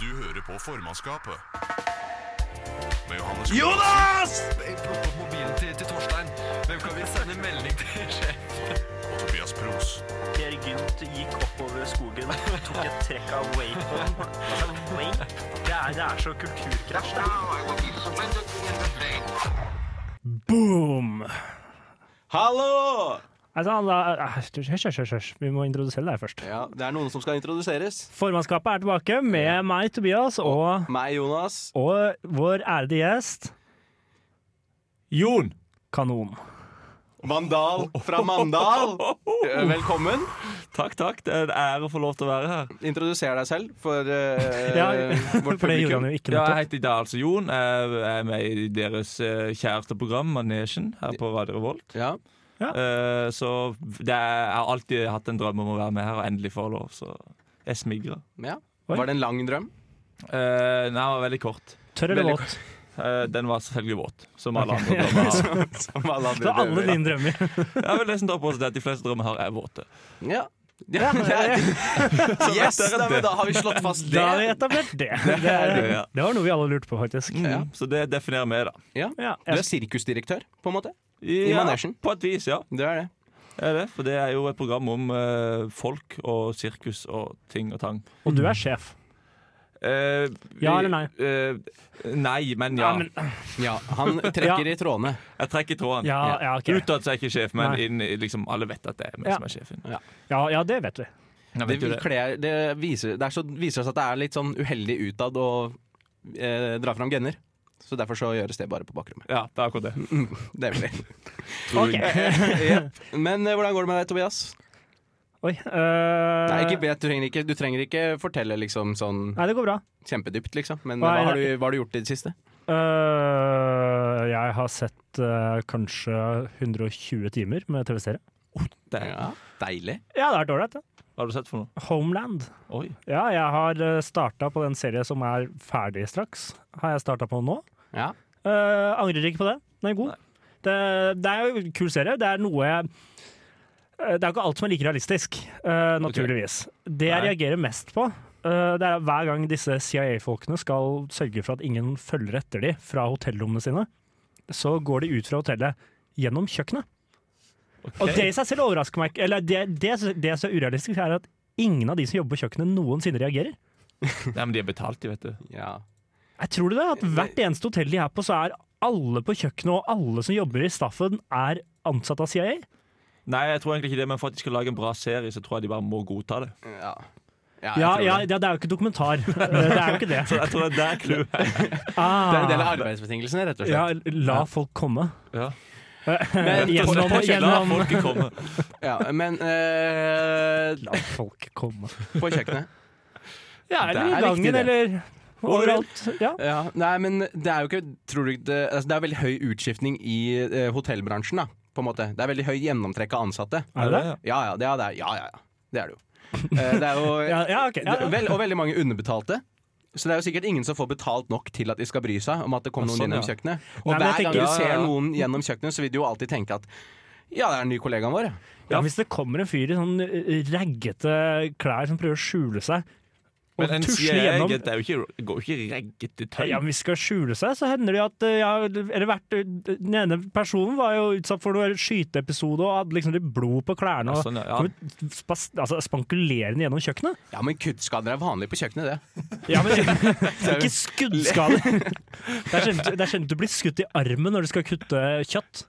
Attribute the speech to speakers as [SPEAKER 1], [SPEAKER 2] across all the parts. [SPEAKER 1] Du hører på formannskapet. Med Johannes
[SPEAKER 2] Jonas!
[SPEAKER 3] Plukk opp mobilen til, til Torstein. Hvem kan vi sende melding til? sjef?
[SPEAKER 1] og Tobias Pros.
[SPEAKER 2] Per Gynt gikk oppover skogen, tok et trekk av wapen. Altså, vape? Det er, det er så kulturkrasj. Det.
[SPEAKER 4] Boom!
[SPEAKER 5] Hallo!
[SPEAKER 4] Nei, sånn, da- eh, Hysj, hysj, hysj. hysj. Vi må introdusere deg først.
[SPEAKER 5] Ja, det er noen som skal introduseres.
[SPEAKER 4] Formannskapet er tilbake med meg, Tobias, og,
[SPEAKER 5] Meg, Jonas.
[SPEAKER 4] og vår ærede gjest,
[SPEAKER 6] Jon!
[SPEAKER 4] Kanon.
[SPEAKER 5] Mandal fra Mandal. Eh, Velkommen.
[SPEAKER 6] Takk, takk. Det er en ære å få lov til å være her.
[SPEAKER 5] Introduser deg selv for eh,
[SPEAKER 4] Ja,
[SPEAKER 5] vårt
[SPEAKER 4] for det gjorde
[SPEAKER 5] publikum.
[SPEAKER 4] han jo ikke
[SPEAKER 6] Ja, jeg
[SPEAKER 4] nettopp.
[SPEAKER 6] heter da altså Jon. Jeg er med i deres eh, kjæreste program, Manesjen, her på Radio Revolt.
[SPEAKER 5] Ja.
[SPEAKER 6] Eh, Så det er, jeg har alltid hatt en drøm om å være med her, og endelig får jeg lov. Så jeg smigrer.
[SPEAKER 5] ja.
[SPEAKER 4] Oi.
[SPEAKER 5] Var det en lang drøm?
[SPEAKER 6] Eh, Nei, den var veldig kort.
[SPEAKER 4] Tørr eller
[SPEAKER 5] Veldig
[SPEAKER 4] våt?
[SPEAKER 6] Eh, Den var selvfølgelig våt, som alle andre drømmer har.
[SPEAKER 5] Som alle
[SPEAKER 4] Det er alle dine drømmer.
[SPEAKER 6] Jeg har vel nesten tatt på oss det at de fleste drømmer her er våte.
[SPEAKER 5] Ja. Ja, det- yes, da, men da har vi slått fast
[SPEAKER 4] Da har vi
[SPEAKER 5] det.
[SPEAKER 4] etablert det. Det,
[SPEAKER 6] Ja.
[SPEAKER 4] det var noe vi alle lurte på, faktisk.
[SPEAKER 5] Ja.
[SPEAKER 6] Så det definerer meg, da.
[SPEAKER 5] Ja.
[SPEAKER 4] Ja,
[SPEAKER 5] Du er
[SPEAKER 4] jeg,
[SPEAKER 5] sirkusdirektør, på en måte.
[SPEAKER 6] Ja,
[SPEAKER 5] Manesjen?
[SPEAKER 6] På et vis, ja.
[SPEAKER 5] Du er det.
[SPEAKER 6] Det Er det? For det er jo et program om eh, folk og sirkus og ting og tang.
[SPEAKER 4] og du er sjef.
[SPEAKER 6] Eh,
[SPEAKER 4] Ja
[SPEAKER 6] vi-
[SPEAKER 4] eller nei?
[SPEAKER 6] eh, nei, men ja.
[SPEAKER 4] Ja, men-
[SPEAKER 5] Ja, Han trekker i trådene.
[SPEAKER 6] Jeg trekker tråden.
[SPEAKER 4] Ja, ja, ok.
[SPEAKER 6] Utad så er jeg ikke sjef, men
[SPEAKER 4] Nei.
[SPEAKER 6] inn, i- liksom, alle vet at det er meg
[SPEAKER 4] Ja.
[SPEAKER 6] som er sjefen.
[SPEAKER 4] ja, ja, det vet vi.
[SPEAKER 6] Jeg
[SPEAKER 5] Det,
[SPEAKER 6] vet jo det.
[SPEAKER 5] kler, det viser, det er så, viser seg at det er litt sånn uheldig utad å eh, dra fram genner. Så derfor så gjøres det bare på bakrommet.
[SPEAKER 6] Ja, det er akkurat det.
[SPEAKER 5] Det er veldig.
[SPEAKER 4] Ok.
[SPEAKER 5] Men eh, hvordan går det med deg, Tobias?
[SPEAKER 4] Oi. øh,
[SPEAKER 5] Nei, ikke, jeg trenger ikke, du trenger ikke fortelle liksom sånn
[SPEAKER 4] Nei, det går bra.
[SPEAKER 5] kjempedypt, liksom. Men
[SPEAKER 4] Nei,
[SPEAKER 5] hva har, du,
[SPEAKER 4] nei.
[SPEAKER 5] hva har du gjort i det siste?
[SPEAKER 4] Øh, jeg har sett øh, kanskje 120 timer med TV-serie.
[SPEAKER 6] det er.
[SPEAKER 5] Ja, deilig.
[SPEAKER 4] Ja, det har vært ålreit, det.
[SPEAKER 6] Hva har du sett for noe?
[SPEAKER 4] Homeland.
[SPEAKER 6] Oi.
[SPEAKER 4] Ja, jeg har starta på den serien som er ferdig straks. Har jeg starta på nå.
[SPEAKER 5] Ja.
[SPEAKER 4] Eh, angrer ikke på det. Den er god. Det, det er jo en kul serie. Det er noe jeg- eh, Det er jo ikke alt som er like realistisk, eh, naturligvis. Det jeg
[SPEAKER 6] Nei.
[SPEAKER 4] reagerer mest på, eh, det er hver gang disse CIA-folkene skal sørge for at ingen følger etter dem fra hotellrommene sine, så går de ut fra hotellet gjennom kjøkkenet. Og det i seg selv overrasker meg ikke. Eller det, det, det som er urealistisk, er at ingen av de som jobber på kjøkkenet, noensinne reagerer.
[SPEAKER 6] Nei, men de er betalt, de, vet du.
[SPEAKER 5] ja.
[SPEAKER 4] Jeg tror det, at hvert eneste hotell de er på, så er alle på kjøkkenet, og alle som jobber i staffen, er ansatt av CIA.
[SPEAKER 6] Nei, jeg tror egentlig ikke det, men for at de skal lage en bra serie, så tror jeg de bare må godta det.
[SPEAKER 5] Ja.
[SPEAKER 4] Ja,
[SPEAKER 5] jeg tror
[SPEAKER 4] ja,
[SPEAKER 5] det.
[SPEAKER 4] ja, det er jo ikke dokumentar. Det er jo ikke det.
[SPEAKER 6] Så jeg tror det er der clouet er.
[SPEAKER 5] det er en del
[SPEAKER 4] Ah,
[SPEAKER 5] av arbeidsbetingelsene, rett og
[SPEAKER 4] ja,
[SPEAKER 5] slett.
[SPEAKER 4] la folk komme.
[SPEAKER 6] Ja.
[SPEAKER 4] Eh, Gjennom,
[SPEAKER 6] På kjøkkenet, la
[SPEAKER 4] gjennom
[SPEAKER 6] folket komme.
[SPEAKER 5] Ja, men eh,
[SPEAKER 4] La folk komme.
[SPEAKER 5] på kjøkkenet
[SPEAKER 4] Ja,
[SPEAKER 5] Det
[SPEAKER 4] eller i
[SPEAKER 5] er viktig,
[SPEAKER 4] gangen,
[SPEAKER 5] det.
[SPEAKER 4] eller overalt. Ja.
[SPEAKER 5] Ja, nei, men det er jo ikke Tror du ikke det, altså det er veldig høy utskiftning i eh, hotellbransjen, da. På en måte. Det er veldig høy gjennomtrekk av ansatte.
[SPEAKER 4] Er det det?
[SPEAKER 5] Ja ja, det er det. er- Ja, ja, ja. Det er det jo. Eh, det er jo
[SPEAKER 4] Ja, ja, ok. Ja, ja.
[SPEAKER 5] Vel, og veldig mange underbetalte. Så det er jo sikkert ingen som får betalt nok til at de skal bry seg om at det kommer
[SPEAKER 6] Ja,
[SPEAKER 5] noen
[SPEAKER 6] sånn,
[SPEAKER 5] gjennom
[SPEAKER 6] ja.
[SPEAKER 5] kjøkkenet. Og
[SPEAKER 4] Nei, men
[SPEAKER 5] hver
[SPEAKER 4] jeg
[SPEAKER 5] gang
[SPEAKER 4] tenker-
[SPEAKER 5] du
[SPEAKER 6] Ja, ja,
[SPEAKER 5] ser
[SPEAKER 6] ja.
[SPEAKER 5] noen gjennom kjøkkenet, så vil du jo alltid tenke at ja, det er den nye kollegaen vår. ja.
[SPEAKER 4] Ja, hvis det kommer en fyr i sånn eh, raggete klær som prøver å skjule seg, og
[SPEAKER 6] Men en
[SPEAKER 4] tusler
[SPEAKER 6] CIA-agent
[SPEAKER 4] gjennom
[SPEAKER 6] er jo ikke- går jo ikke regget i tøy.
[SPEAKER 4] Ja, men hvis de skal skjule seg, så hender det jo at eh, ja, eller hvert, Den ene personen var jo utsatt for noe skyteepisode og hadde liksom litt blod på klærne.
[SPEAKER 6] Ja,
[SPEAKER 4] Og
[SPEAKER 6] sånn, ja.
[SPEAKER 4] kom ut spas, altså, spankulerende gjennom kjøkkenet.
[SPEAKER 5] Ja, men kuttskader er vanlig på kjøkkenet, det.
[SPEAKER 4] Ja, men Ikke skuddskader! Det er sjelden- det er sjelden du blir skutt i armen når du skal kutte kjøtt.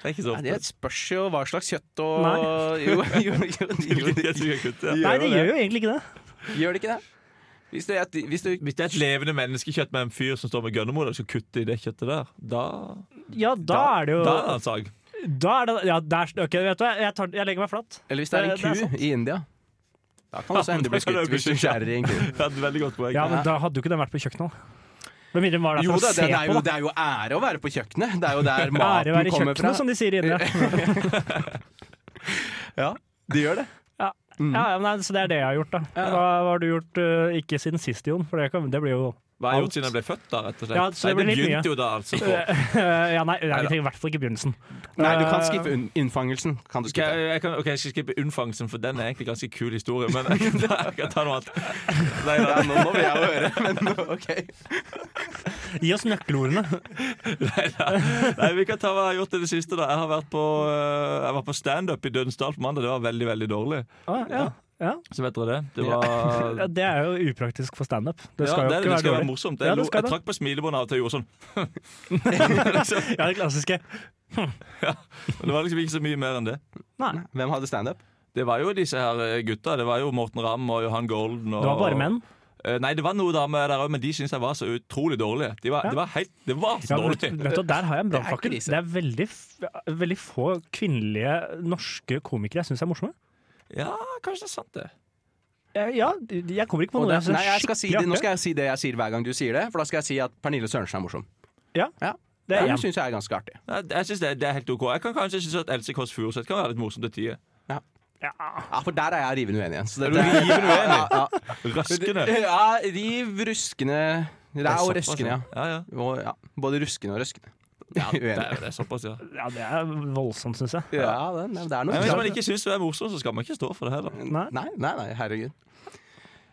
[SPEAKER 6] Det er ikke så
[SPEAKER 5] Nei,
[SPEAKER 6] ofte.
[SPEAKER 5] det spørs jo hva slags kjøtt og
[SPEAKER 4] Nei.
[SPEAKER 5] Jo, jo, jo, jo,
[SPEAKER 6] Jo, det tror jeg kutter, ja.
[SPEAKER 4] Nei,
[SPEAKER 5] jo
[SPEAKER 4] det
[SPEAKER 5] det.
[SPEAKER 4] gjør jo egentlig ikke det.
[SPEAKER 5] Gjør det ikke det? Hvis du, et- hvis du
[SPEAKER 6] Hvis det er et levende menneskekjøtt med en fyr som står med gønnermod og skal kutte i det kjøttet der, da,
[SPEAKER 4] Ja, da, er det jo
[SPEAKER 6] da er det en sag.
[SPEAKER 4] Da er det Ja, der Ok, vet du hva, jeg, tar, jeg legger meg flat.
[SPEAKER 5] Eller hvis det er en
[SPEAKER 4] Det- det er
[SPEAKER 5] ku i India. Da kan det også
[SPEAKER 6] Ja,
[SPEAKER 5] hende du
[SPEAKER 6] da
[SPEAKER 5] blir
[SPEAKER 6] kan
[SPEAKER 5] skutt
[SPEAKER 6] du bli
[SPEAKER 5] hvis du
[SPEAKER 6] skutt, ja.
[SPEAKER 5] skjærer i en ku.
[SPEAKER 6] Det er et veldig godt poeng.
[SPEAKER 4] Ja, men da hadde jo ikke den vært på kjøkkenet. da. Med mindre den var der
[SPEAKER 5] Jo
[SPEAKER 4] for
[SPEAKER 5] da,
[SPEAKER 4] å
[SPEAKER 5] det
[SPEAKER 4] se
[SPEAKER 5] er jo,
[SPEAKER 4] på,
[SPEAKER 5] det er jo ære å være på kjøkkenet. Det er jo der
[SPEAKER 4] da. Ære være
[SPEAKER 5] maten
[SPEAKER 4] i
[SPEAKER 5] kommer
[SPEAKER 4] kjøkkenet,
[SPEAKER 5] fra.
[SPEAKER 4] som de sier i India.
[SPEAKER 5] Ja, det gjør det.
[SPEAKER 4] Ja. Ja, ja, men nei, så det er det jeg har gjort, da.
[SPEAKER 5] Ja.
[SPEAKER 4] Hva hva har du gjort, eh, ikke siden sist, Jon? For det, kan, det blir jo
[SPEAKER 6] Hva har jeg
[SPEAKER 4] Alt.
[SPEAKER 6] gjort siden jeg ble født, da? rett og slett?
[SPEAKER 4] Ja, så det
[SPEAKER 6] Nei,
[SPEAKER 4] blir litt mye.
[SPEAKER 6] begynte jo da, altså. For,
[SPEAKER 4] Ja, nei, vi
[SPEAKER 6] Neida.
[SPEAKER 4] trenger i hvert fall ikke begynnelsen.
[SPEAKER 5] Nei, du kan
[SPEAKER 4] Eh,
[SPEAKER 5] skippe unn- innfangelsen. Kan du
[SPEAKER 6] Skal
[SPEAKER 5] skippe.
[SPEAKER 6] jeg, jeg kan, ok, jeg skal skippe unnfangelsen, for den er egentlig ganske kul historie. Men jeg kan ta, jeg kan ta noe annet. Nei, nei,
[SPEAKER 5] Ja, nå må vi jo høre, men nå, OK.
[SPEAKER 4] Gi oss nøkkelordene.
[SPEAKER 6] nei, nei, nei, vi kan ta hva jeg har gjort i det siste. da Jeg har vært på, eh, jeg var på standup i Dødsdal på mandag. Det var veldig veldig dårlig.
[SPEAKER 4] Ah, ja. Ja.
[SPEAKER 6] Så vet dere det. Det var
[SPEAKER 4] ja, Det er jo upraktisk for standup. Det
[SPEAKER 6] Ja,
[SPEAKER 4] skal jo
[SPEAKER 6] det,
[SPEAKER 4] ikke
[SPEAKER 6] det
[SPEAKER 4] være
[SPEAKER 6] skal være
[SPEAKER 4] dårlig.
[SPEAKER 6] morsomt.
[SPEAKER 4] Ja,
[SPEAKER 6] Jeg,
[SPEAKER 4] det
[SPEAKER 6] lo,
[SPEAKER 4] skal
[SPEAKER 6] jeg
[SPEAKER 4] det.
[SPEAKER 6] trakk på smilebåndet av og til og gjorde sånn.
[SPEAKER 4] Ja, det klassiske.
[SPEAKER 6] Men det var liksom ikke så mye mer enn det.
[SPEAKER 4] Nei,
[SPEAKER 5] Hvem hadde standup?
[SPEAKER 6] Det var jo disse her eh, gutta. Det var jo Morten Ramm og Johan Golden. Og,
[SPEAKER 4] det var bare menn.
[SPEAKER 6] Eh, Nei, det var noen damer der òg, men de syntes jeg var så utrolig dårlige. De var,
[SPEAKER 4] Ja.
[SPEAKER 6] Det var helt Det var
[SPEAKER 4] Ja,
[SPEAKER 6] så
[SPEAKER 4] men vet,
[SPEAKER 6] dårlig.
[SPEAKER 4] vet du, der har jeg en
[SPEAKER 5] Det er
[SPEAKER 4] brannfakkel.
[SPEAKER 5] krise.
[SPEAKER 4] Det er veldig, f- veldig få kvinnelige norske komikere jeg syns er morsomme.
[SPEAKER 6] Ja, kanskje det er sant, det.
[SPEAKER 4] Eh, Ja, jeg kommer ikke på
[SPEAKER 5] Og
[SPEAKER 4] noe.
[SPEAKER 5] det,
[SPEAKER 4] jeg synes er
[SPEAKER 5] nei, jeg skal si det,
[SPEAKER 4] skikkelig
[SPEAKER 5] nå
[SPEAKER 4] artig.
[SPEAKER 5] skal jeg si det jeg sier hver gang du sier det, for da skal jeg si at Pernille Sørensen er morsom.
[SPEAKER 4] Ja,
[SPEAKER 5] Ja.
[SPEAKER 4] det
[SPEAKER 5] Det
[SPEAKER 4] er en.
[SPEAKER 5] syns jeg er ganske artig.
[SPEAKER 6] Nei, jeg synes det, det er helt ok. Jeg kan kanskje synes at Else Kåss Furuseth kan være litt morsom til tider.
[SPEAKER 5] Ja, For der er jeg rivende uenig igjen. Så
[SPEAKER 6] Er du rivende uenig?
[SPEAKER 5] Ja, ja.
[SPEAKER 6] Røskende.
[SPEAKER 5] Ja, riv ruskende Det er jo røskende, ja.
[SPEAKER 6] Ja, ja.
[SPEAKER 5] Og, ja. Både ruskende og røskende.
[SPEAKER 6] Det
[SPEAKER 5] Uenig.
[SPEAKER 6] er, det er såpass, ja.
[SPEAKER 4] Ja, det er voldsomt, syns jeg.
[SPEAKER 5] Ja, det, nei, det er
[SPEAKER 6] Nei,
[SPEAKER 5] noe
[SPEAKER 6] men hvis man ikke syns du er morsom, så skal man ikke stå for det heller.
[SPEAKER 4] Nei.
[SPEAKER 5] Nei, nei, nei, herregud.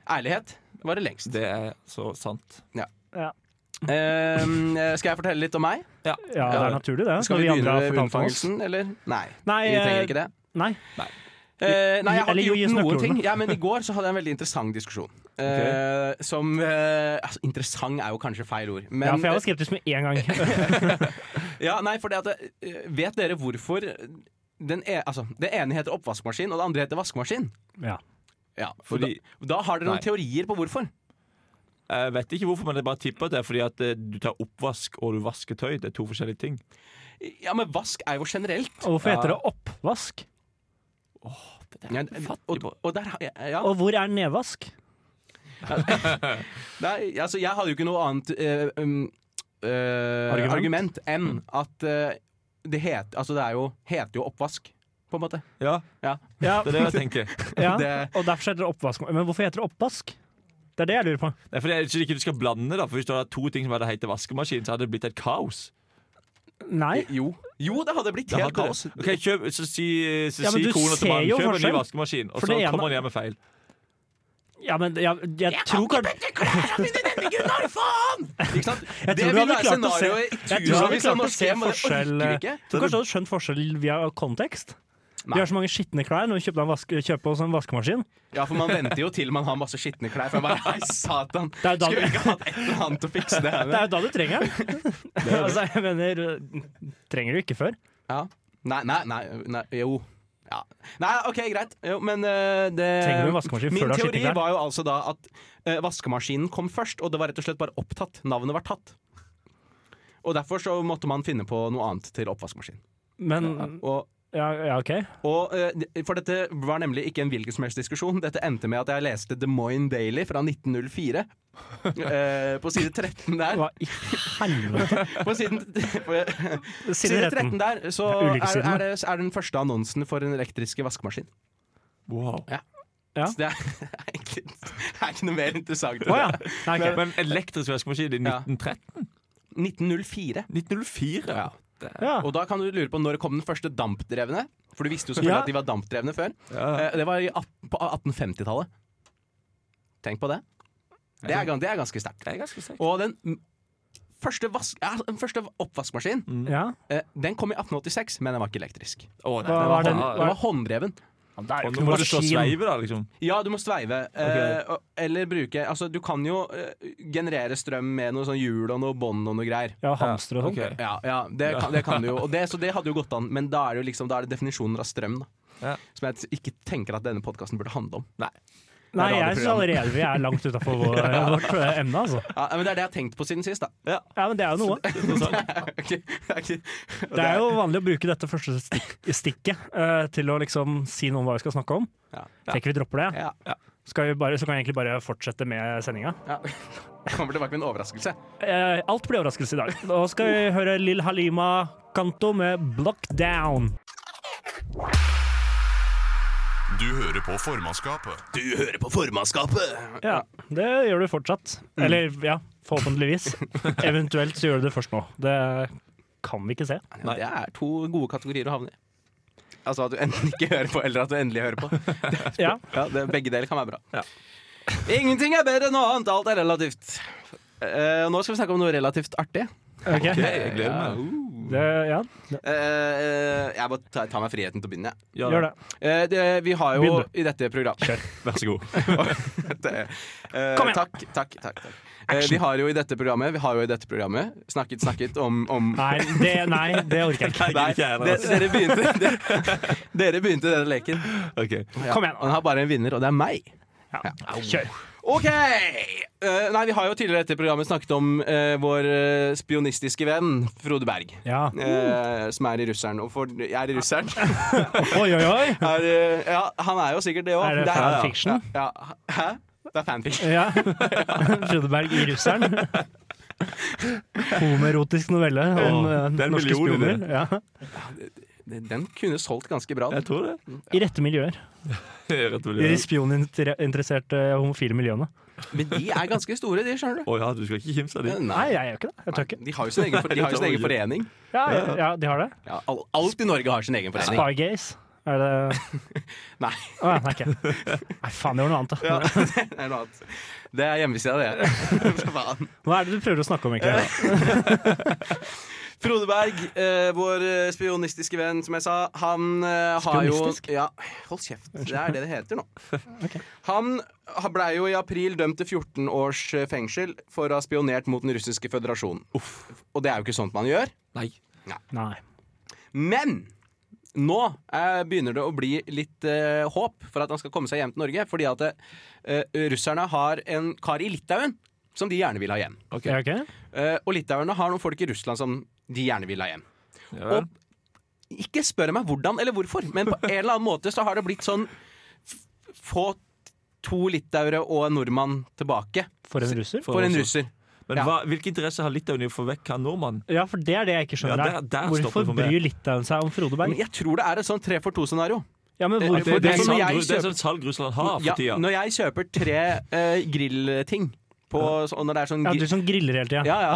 [SPEAKER 5] Ærlighet var det lengst.
[SPEAKER 6] Det er så sant.
[SPEAKER 4] Ja,
[SPEAKER 5] Ehm, skal jeg fortelle litt om meg?
[SPEAKER 4] ja det er naturlig, det.
[SPEAKER 5] Skal
[SPEAKER 4] når
[SPEAKER 5] vi
[SPEAKER 4] andre
[SPEAKER 5] begynne
[SPEAKER 4] har
[SPEAKER 5] med
[SPEAKER 4] fortalt om oss.
[SPEAKER 5] unnfangelsen, eller? Nei,
[SPEAKER 4] Nei,
[SPEAKER 5] vi
[SPEAKER 4] eh,
[SPEAKER 5] trenger ikke det.
[SPEAKER 4] nei.
[SPEAKER 5] Eh, nei, jeg har ikke
[SPEAKER 4] Eller gi
[SPEAKER 5] gjort
[SPEAKER 4] oss
[SPEAKER 5] noen
[SPEAKER 4] nøkkelordene.
[SPEAKER 5] ting. Ja, men I går så hadde jeg en veldig interessant diskusjon. Eh, som eh, altså, Interessant er jo kanskje feil ord. Men,
[SPEAKER 4] Ja, for jeg var skeptisk med en gang.
[SPEAKER 5] Ja, nei, fordi at eh, Vet dere hvorfor den, e altså, det ene heter oppvaskmaskin, og det andre heter vaskemaskin?
[SPEAKER 4] Ja.
[SPEAKER 5] Ja, fordi,
[SPEAKER 6] Fordi-
[SPEAKER 5] da, da har dere noen
[SPEAKER 6] Nei.
[SPEAKER 5] teorier på hvorfor.
[SPEAKER 6] Jeg vet ikke hvorfor, men jeg bare tipper at det er fordi at eh, du tar oppvask og du vasker tøy. Det er to forskjellige ting.
[SPEAKER 5] Ja, men vask er jo generelt.
[SPEAKER 4] Og hvorfor
[SPEAKER 6] Ja.
[SPEAKER 4] heter det oppvask?
[SPEAKER 5] Ja, og, og der, har- ja,
[SPEAKER 4] Og hvor er nedvask?
[SPEAKER 5] Nei, altså jeg hadde jo ikke noe annet eh, um, eh,
[SPEAKER 4] Argument?
[SPEAKER 5] argument enn at eh, det het, altså det er jo, heter jo oppvask, på en måte.
[SPEAKER 6] Ja,
[SPEAKER 4] Ja,
[SPEAKER 6] det er det jeg tenker.
[SPEAKER 4] ja.
[SPEAKER 5] det-
[SPEAKER 4] Og derfor heter det oppvask. Men hvorfor heter det oppvask? Det er det jeg lurer på.
[SPEAKER 6] Det er fordi jeg synes ikke du skal blande, da. For hvis du hadde to ting som hadde hett vaskemaskin, så hadde det blitt et kaos.
[SPEAKER 4] Nei.
[SPEAKER 5] Jo, jo det hadde blitt
[SPEAKER 6] Det
[SPEAKER 5] helt
[SPEAKER 6] hadde det.
[SPEAKER 5] kaos.
[SPEAKER 6] Ok, kjøp, så si, så
[SPEAKER 4] Ja, men
[SPEAKER 6] si
[SPEAKER 4] du
[SPEAKER 6] kona
[SPEAKER 4] ser
[SPEAKER 6] til mannen
[SPEAKER 4] jo
[SPEAKER 6] kjøp en ny
[SPEAKER 4] forskjell.
[SPEAKER 6] vaskemaskin, og
[SPEAKER 4] For
[SPEAKER 6] så
[SPEAKER 4] det ene-
[SPEAKER 6] kommer han hjem med feil.
[SPEAKER 4] Ja, men jeg, jeg tror kanskje
[SPEAKER 5] Ikke sant?
[SPEAKER 4] Jeg
[SPEAKER 5] det
[SPEAKER 4] tror du
[SPEAKER 5] ville
[SPEAKER 4] hadde
[SPEAKER 5] være
[SPEAKER 4] klart å se,
[SPEAKER 5] scenarioet i
[SPEAKER 4] jeg
[SPEAKER 5] tusenvis av
[SPEAKER 4] tror du hadde klart å
[SPEAKER 5] norske
[SPEAKER 4] se
[SPEAKER 5] hjem, og det
[SPEAKER 4] forskjell
[SPEAKER 5] orker vi ikke.
[SPEAKER 4] Jeg tror kanskje du hadde skjønt forskjell via kontekst. Vi har så mange skitne klær når vi kjøper, en vaske, kjøper oss en vaskemaskin.
[SPEAKER 5] Ja, for man venter jo til man har masse skitne klær, for jeg bare, hei satan,
[SPEAKER 4] er jo da-
[SPEAKER 5] skulle vi ikke hatt et eller annet å fikse det her
[SPEAKER 4] Det
[SPEAKER 5] med?
[SPEAKER 4] er jo da du trenger den. altså, jeg mener, trenger du ikke før.
[SPEAKER 5] Ja. Nei, nei, nei, nei, jo. Ja. Nei, OK, greit. Jo, men eh, det
[SPEAKER 4] Trenger du en vaskemaskin
[SPEAKER 5] Min
[SPEAKER 4] før du har
[SPEAKER 5] teori
[SPEAKER 4] skitne klær?
[SPEAKER 5] var jo altså da at eh, vaskemaskinen kom først, og det var rett og slett bare opptatt. Navnet var tatt. Og derfor så måtte man finne på noe annet til oppvaskmaskin.
[SPEAKER 4] Men
[SPEAKER 5] Og,
[SPEAKER 4] ja, ja, OK.
[SPEAKER 5] og, eh, for dette var nemlig ikke en hvilken som helst diskusjon. Dette endte med at jeg leste Des Moines Daily fra 1904. eh, på side 13 der.
[SPEAKER 4] Hva i helvete?
[SPEAKER 5] På siden,
[SPEAKER 4] Side
[SPEAKER 5] side
[SPEAKER 4] 13.
[SPEAKER 5] 13 der så
[SPEAKER 4] Det er
[SPEAKER 5] er,
[SPEAKER 4] ulykkessidene.
[SPEAKER 5] er, det, er den første annonsen for den elektriske vaskemaskin.
[SPEAKER 6] Wow.
[SPEAKER 4] Ja.
[SPEAKER 5] Så det er, er ikke, det er ikke noe mer interessant. enn
[SPEAKER 4] Å ja.
[SPEAKER 5] det.
[SPEAKER 4] Nei, ok.
[SPEAKER 6] Men elektrisk vaskemaskin i
[SPEAKER 5] Ja.
[SPEAKER 6] 1913?
[SPEAKER 5] 1904.
[SPEAKER 6] 1904?
[SPEAKER 5] Ja.
[SPEAKER 4] ja.
[SPEAKER 5] Og da kan du lure på når kom den første dampdrevne? For du visste jo selvfølgelig
[SPEAKER 4] Ja.
[SPEAKER 5] at de var dampdrevne før.
[SPEAKER 6] Ja.
[SPEAKER 5] Eh, Det var i 18, på 1850-tallet. Tenk på det. Det er, gan- det er ganske sterkt.
[SPEAKER 6] Det er ganske sterkt.
[SPEAKER 5] Og den m- første, vask, ja, den første oppvaskmaskinen
[SPEAKER 4] ja.
[SPEAKER 5] eh, Den kom i 1886, men den var ikke elektrisk.
[SPEAKER 6] Å, nei,
[SPEAKER 4] Hva
[SPEAKER 6] det
[SPEAKER 4] var den-
[SPEAKER 6] ja,
[SPEAKER 5] Den var hånddreven.
[SPEAKER 4] Det er
[SPEAKER 6] Og
[SPEAKER 4] jo
[SPEAKER 6] nå
[SPEAKER 4] ikke
[SPEAKER 6] må
[SPEAKER 4] noe
[SPEAKER 6] du stå og
[SPEAKER 4] maskin.
[SPEAKER 6] sveive, da, liksom.
[SPEAKER 5] Ja, du må sveive. eh, og- eller bruke Altså, du kan jo eh, generere strøm med noe sånn hjul og noe bånd og noe greier.
[SPEAKER 4] Ja, hamstere og sånn.
[SPEAKER 6] Ok.
[SPEAKER 5] Ja, ja det, kan, det kan du jo. Og det, så det hadde jo gått an, men da er det jo liksom, da er det definisjoner av strøm. da
[SPEAKER 6] Ja.
[SPEAKER 5] Som jeg ikke tenker at denne podkasten burde handle om.
[SPEAKER 4] Nei,
[SPEAKER 5] Det er
[SPEAKER 4] jeg syns allerede vi er langt utafor vår, vårt eh, emne, altså.
[SPEAKER 5] Ja, men Det er det jeg har tenkt på siden sist. da
[SPEAKER 4] Ja, men det er jo noe.
[SPEAKER 6] Interessant.
[SPEAKER 5] Ok, det er ikke-
[SPEAKER 4] Det er jo vanlig å bruke dette første stikk, stikket eh, til å liksom si noe om hva vi skal snakke om.
[SPEAKER 5] Ja.
[SPEAKER 4] Tenker vi dropper det.
[SPEAKER 5] Ja,
[SPEAKER 4] Skal vi bare, så kan vi egentlig bare fortsette med sendinga.
[SPEAKER 5] ja. Kommer tilbake med en overraskelse.
[SPEAKER 4] Eh, alt blir overraskelse i dag. Nå skal vi høre Lill Halima Kanto med 'Block Down'.
[SPEAKER 1] Du hører på formannskapet.
[SPEAKER 5] Du hører på formannskapet!
[SPEAKER 4] Ja, det gjør du fortsatt.
[SPEAKER 6] Mm.
[SPEAKER 4] Eller ja, forhåpentligvis. Eventuelt så gjør du det først nå. Det kan vi ikke se.
[SPEAKER 5] Ja, det er to gode kategorier å havne i. Altså at du enten ikke hører på, eller at du endelig hører på.
[SPEAKER 4] Ja.
[SPEAKER 5] Ja, det, begge deler kan være bra. Ingenting er bedre enn noe annet. Alt er relativt. Eh, nå skal vi snakke om noe relativt artig.
[SPEAKER 4] Ok.
[SPEAKER 6] Ok, jeg gleder meg.
[SPEAKER 4] Det, ja,
[SPEAKER 5] Eh, eh, jeg bare tar, tar meg friheten til å begynne. jeg.
[SPEAKER 6] Ja,
[SPEAKER 4] gjør det.
[SPEAKER 5] Eh, det, vi har jo
[SPEAKER 4] Begynn
[SPEAKER 5] i dette programmet
[SPEAKER 6] Vær så god.
[SPEAKER 5] det, eh,
[SPEAKER 4] Kom igjen.
[SPEAKER 5] Takk, takk, takk. takk. Eh, vi har jo i dette programmet Vi har jo i dette programmet snakket, snakket om, om
[SPEAKER 4] Nei, det, nei, det orker jeg ikke.
[SPEAKER 6] Jeg gidder ikke jeg,
[SPEAKER 5] dere,
[SPEAKER 6] altså.
[SPEAKER 5] dere begynte dere, dere begynte denne leken.
[SPEAKER 6] Ok.
[SPEAKER 5] Ja.
[SPEAKER 4] Kom igjen.
[SPEAKER 5] Og den har bare en vinner, og det er meg.
[SPEAKER 4] Ja. Kjør.
[SPEAKER 5] OK! Eh, nei, vi har jo tidligere i dette programmet snakket om eh, vår eh, spionistiske venn Frode Berg.
[SPEAKER 4] Ja.
[SPEAKER 5] eh, som er i russeren. Og for, jeg er i russeren.
[SPEAKER 4] Oi, oi, oi!
[SPEAKER 5] Er, eh, ja, han er jo sikkert det òg.
[SPEAKER 4] Er det fanfiction?
[SPEAKER 5] Ja, ja. Hæ? Det er fanfiction.
[SPEAKER 4] Ja. Frodeberg i russeren. Homoerotisk novelle om
[SPEAKER 6] Åh,
[SPEAKER 4] eh,
[SPEAKER 6] det er en
[SPEAKER 4] norske
[SPEAKER 6] million i det.
[SPEAKER 4] spioner. Ja.
[SPEAKER 5] Den kunne solgt ganske bra.
[SPEAKER 6] Jeg tror det.
[SPEAKER 4] I rette miljøer.
[SPEAKER 6] Rett og
[SPEAKER 4] I de
[SPEAKER 6] slett.
[SPEAKER 4] spioninteresserte eh, homofile miljøene.
[SPEAKER 5] Men de er ganske store, de, skjønner du.
[SPEAKER 6] Å ja, du skal ikke kimse av de.
[SPEAKER 4] Nei, jeg gjør ikke det. Jeg tør ikke.
[SPEAKER 5] De har jo sin egen, for, de har jo sin egen forening.
[SPEAKER 4] Ja, ja, ja, de har det.
[SPEAKER 5] Ja, al- alt i Norge har sin egen forening.
[SPEAKER 4] Spygaze. Er det
[SPEAKER 5] Nei.
[SPEAKER 4] Å, nei, ikke. nei, faen, gjør noe annet, da.
[SPEAKER 5] Det er noe annet. Det er hjemmesida, det. Hva faen?
[SPEAKER 4] Hva er det du prøver å snakke om, egentlig?
[SPEAKER 5] Frode Berg, eh, vår eh, spionistiske venn, som jeg sa, han eh, har jo
[SPEAKER 4] Spionistisk?
[SPEAKER 5] ja, Hold kjeft. Det er det det heter nå. Han ha- blei jo i april dømt til 14 års eh, fengsel for å ha spionert mot Den russiske føderasjonen. Og det er jo ikke sånt man gjør.
[SPEAKER 6] Nei.
[SPEAKER 4] Nei.
[SPEAKER 5] Men nå eh, begynner det å bli litt eh, håp for at han skal komme seg hjem til Norge. Fordi at eh, russerne har en kar i Litauen som de gjerne vil ha hjem.
[SPEAKER 6] Ok.
[SPEAKER 4] Ja, ok?
[SPEAKER 5] Eh, og litauerne har noen folk i Russland som de gjerne vil ha hjem.
[SPEAKER 6] Ja vel.
[SPEAKER 5] Ikke spør meg hvordan eller hvorfor, men på en eller annen måte så har det blitt sånn f- Få to litauere og en nordmann tilbake
[SPEAKER 4] For en russer?
[SPEAKER 5] for en russer.
[SPEAKER 6] Men
[SPEAKER 5] Ja.
[SPEAKER 6] hva, hvilke interesser har Litauen i å få vekk han nordmannen?
[SPEAKER 4] Ja, for det er det jeg ikke skjønner.
[SPEAKER 6] Ja, der- der stopper
[SPEAKER 4] Hvorfor
[SPEAKER 6] for meg.
[SPEAKER 4] bryr Litauen seg om Frode
[SPEAKER 5] Men
[SPEAKER 4] Berg?
[SPEAKER 5] jeg tror det er et sånn tre for to-scenario.
[SPEAKER 4] Ja, men
[SPEAKER 5] det-
[SPEAKER 4] hvorfor
[SPEAKER 5] det
[SPEAKER 6] er
[SPEAKER 5] som
[SPEAKER 6] sånn,
[SPEAKER 5] jeg
[SPEAKER 6] Ru- det er
[SPEAKER 5] kjøper-
[SPEAKER 6] sånn salg Russland har for
[SPEAKER 5] Ja,
[SPEAKER 6] tida.
[SPEAKER 5] når jeg kjøper tre eh, grillting på så, Når det er sånn
[SPEAKER 4] Ja,
[SPEAKER 5] gri-
[SPEAKER 4] du som griller hele tida.
[SPEAKER 5] ja, ja.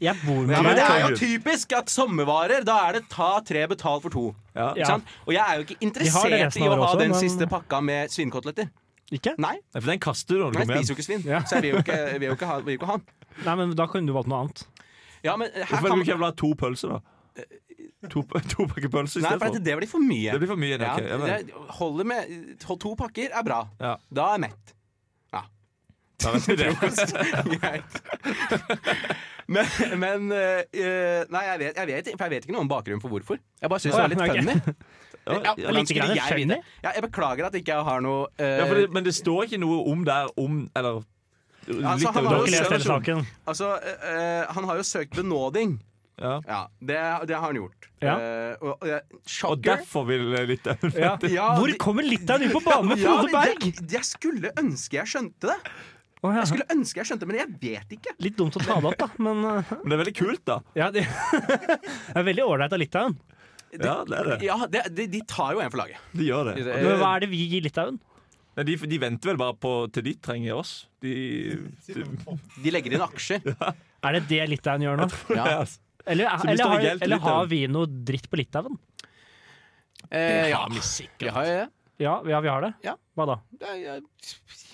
[SPEAKER 4] Jeg
[SPEAKER 5] Ja,
[SPEAKER 4] bor med
[SPEAKER 5] men
[SPEAKER 4] deg.
[SPEAKER 5] det er jo typisk at sommervarer, da er det ta tre, betal for to.
[SPEAKER 6] Ja.
[SPEAKER 5] Ikke sant? Og jeg er jo ikke
[SPEAKER 4] De har det
[SPEAKER 5] interessert
[SPEAKER 4] resten
[SPEAKER 5] i
[SPEAKER 4] av
[SPEAKER 5] å
[SPEAKER 4] året
[SPEAKER 5] ha
[SPEAKER 4] også,
[SPEAKER 5] den
[SPEAKER 4] men-
[SPEAKER 5] siste pakka med svinkoteletter.
[SPEAKER 4] Ikke?
[SPEAKER 5] Nei,
[SPEAKER 6] Nei, For den kaster du når du
[SPEAKER 5] jeg
[SPEAKER 6] kommer
[SPEAKER 5] spiser jo
[SPEAKER 6] hjem.
[SPEAKER 5] ikke svin, så jeg vil jo ikke, jeg vil jo ikke ha, vil jo ikke ha den.
[SPEAKER 4] Nei, men da kunne du valgt noe annet.
[SPEAKER 5] Ja, men her
[SPEAKER 6] Hvorfor kan du
[SPEAKER 5] kan
[SPEAKER 6] ikke ha to pølser, da? To, to pakker pølser i
[SPEAKER 5] Nei,
[SPEAKER 6] stedet
[SPEAKER 5] for
[SPEAKER 6] for?
[SPEAKER 5] det, det blir for mye.
[SPEAKER 6] Det blir for mye.
[SPEAKER 5] ja,
[SPEAKER 6] ok, jeg mener.
[SPEAKER 5] det holder med to- To pakker er bra.
[SPEAKER 6] Ja.
[SPEAKER 5] Da er jeg mett.
[SPEAKER 6] Da vet vi det.
[SPEAKER 5] Greit. Men, men eh, Nei, jeg vet, jeg, vet, for jeg vet ikke noe om bakgrunnen for hvorfor. Jeg bare syns
[SPEAKER 4] Å,
[SPEAKER 5] det var
[SPEAKER 4] ja,
[SPEAKER 5] litt
[SPEAKER 4] ok.
[SPEAKER 5] funny.
[SPEAKER 6] Ja,
[SPEAKER 5] Ja,
[SPEAKER 6] ja,
[SPEAKER 5] hvordan
[SPEAKER 4] lite
[SPEAKER 5] skulle
[SPEAKER 4] grann
[SPEAKER 5] jeg
[SPEAKER 4] funny.
[SPEAKER 5] vite? Ja, jeg beklager at ikke jeg har noe
[SPEAKER 6] ja,
[SPEAKER 5] eh,
[SPEAKER 6] for det, men det står ikke noe om der om Eller litt
[SPEAKER 5] han
[SPEAKER 4] Du
[SPEAKER 5] har
[SPEAKER 4] har
[SPEAKER 5] jo
[SPEAKER 4] ikke lest
[SPEAKER 5] selv-
[SPEAKER 4] hele saken.
[SPEAKER 5] Altså, eh, eh, han har jo søkt benåding.
[SPEAKER 6] Ja.
[SPEAKER 5] Ja, det, det har han gjort.
[SPEAKER 4] Ja.
[SPEAKER 5] Eh, og, og, jeg-
[SPEAKER 6] Og
[SPEAKER 5] shocker.
[SPEAKER 6] derfor vil eh, Litauen
[SPEAKER 4] Ja.
[SPEAKER 5] Ja,
[SPEAKER 4] Hvor
[SPEAKER 5] de-
[SPEAKER 4] kommer Litauen inn på banen med Frode
[SPEAKER 5] Ja,
[SPEAKER 4] Berg?!
[SPEAKER 5] det- det- Jeg skulle ønske jeg skjønte det.
[SPEAKER 4] Å, ja.
[SPEAKER 5] Jeg skulle ønske jeg skjønte det, Men jeg vet ikke.
[SPEAKER 4] Litt dumt å ta det opp, da, men uh,
[SPEAKER 6] Men det er veldig kult, da.
[SPEAKER 4] ja, det, det er veldig ålreit av Litauen.
[SPEAKER 6] Ja, det er det.
[SPEAKER 5] Ja, det, de, de tar jo en for laget.
[SPEAKER 6] De gjør det.
[SPEAKER 4] Men hva er det vi gir Litauen?
[SPEAKER 6] Nei, de, de venter vel bare på til de trenger oss. De, de,
[SPEAKER 5] De legger inn aksjer.
[SPEAKER 4] Er det det Litauen gjør nå?
[SPEAKER 5] Ja.
[SPEAKER 4] Eller,
[SPEAKER 6] Så vi
[SPEAKER 4] eller,
[SPEAKER 6] står
[SPEAKER 4] har,
[SPEAKER 6] helt
[SPEAKER 4] eller
[SPEAKER 6] Litauen.
[SPEAKER 4] har vi noe dritt på Litauen?
[SPEAKER 5] Eh, ja. Vi har jo det.
[SPEAKER 4] Ja, ja vi har det.
[SPEAKER 5] Ja.
[SPEAKER 4] Hva da?
[SPEAKER 5] Ja, ja.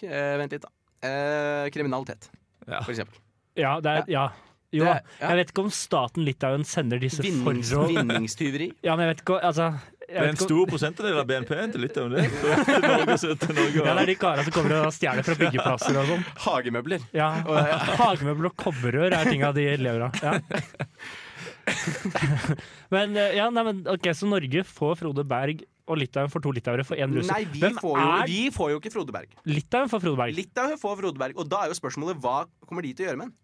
[SPEAKER 5] Eh, Vent litt, da. Eh, kriminalitet,
[SPEAKER 6] Ja.
[SPEAKER 5] for eksempel.
[SPEAKER 4] Ja, det er, ja. Jo,
[SPEAKER 5] Det er- ja.
[SPEAKER 4] jeg vet ikke om staten Litauen sender disse for
[SPEAKER 5] Vinnings,
[SPEAKER 4] å
[SPEAKER 5] vinningstyveri.
[SPEAKER 4] Ja, men jeg vet ikke altså, jeg
[SPEAKER 6] Det er
[SPEAKER 4] vet
[SPEAKER 6] en
[SPEAKER 4] ikke om-
[SPEAKER 6] stor prosentandel av BNP til Litauen, det. Til Norge, så til Norge,
[SPEAKER 4] Ja, det er de karene som kommer og stjeler fra byggeplasser og sånn.
[SPEAKER 5] Hagemøbler.
[SPEAKER 4] Ja.
[SPEAKER 5] ja.
[SPEAKER 4] Hagemøbel og kobberrør er tinga de lever av. Ja. Men eh, ja, nei, men ok, så Norge får Frode Berg og Litauen får to litauere for én russer.
[SPEAKER 5] Nei, vi
[SPEAKER 4] Hvem
[SPEAKER 5] får, jo,
[SPEAKER 4] er
[SPEAKER 5] vi får jo ikke Frode Berg.
[SPEAKER 4] Litauen for Frode Berg?
[SPEAKER 5] Litauen får Frode Berg, og da er jo spørsmålet hva kommer de til å gjøre med den?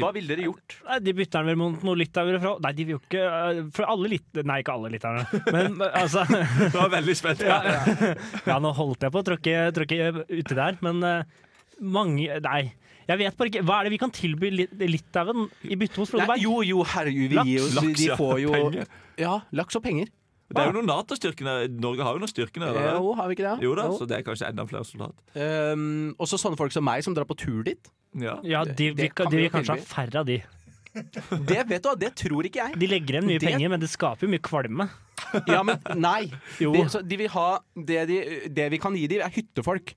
[SPEAKER 5] Hva ville dere gjort?
[SPEAKER 4] Nei, de bytter den vel mot noen litauere fra Nei, de vil jo ikke eh, For alle lit... Nei, ikke alle litauerne. Men eh, altså
[SPEAKER 6] Det var veldig spent.
[SPEAKER 4] Ja, nå holdt jeg på å tråkke, tråkke uti der, men eh, mange Nei. Jeg vet bare ikke Hva er det vi kan tilby Li- Litauen i bytte mot Frode
[SPEAKER 5] Nei,
[SPEAKER 4] Berg?
[SPEAKER 5] jo, jo, herregud, vi
[SPEAKER 4] Laks.
[SPEAKER 5] gir oss
[SPEAKER 6] Laks,
[SPEAKER 5] De
[SPEAKER 6] ja.
[SPEAKER 5] får jo
[SPEAKER 6] Penger.
[SPEAKER 5] Ja, laks og penger.
[SPEAKER 6] Det er jo noen Nato-styrker der. Norge har jo noen styrker der.
[SPEAKER 5] Eh,
[SPEAKER 6] eller?
[SPEAKER 5] Jo, har vi ikke det?
[SPEAKER 6] Jo da, så det er kanskje enda flere soldater.
[SPEAKER 5] Ehm, også sånne folk som meg som drar på tur dit.
[SPEAKER 6] Ja.
[SPEAKER 4] Ja, de,
[SPEAKER 5] Det-
[SPEAKER 4] vi,
[SPEAKER 5] det kan
[SPEAKER 4] de
[SPEAKER 5] vi
[SPEAKER 4] vil
[SPEAKER 5] jo
[SPEAKER 4] kanskje ha
[SPEAKER 5] tilby.
[SPEAKER 4] færre av de.
[SPEAKER 5] Det vet du, hva, det tror ikke jeg.
[SPEAKER 4] De legger igjen mye
[SPEAKER 5] Det-
[SPEAKER 4] penger, men det skaper jo mye kvalme.
[SPEAKER 5] Ja, men nei.
[SPEAKER 4] Jo.
[SPEAKER 5] De, så de vil ha det, de, det vi kan gi dem, er hyttefolk.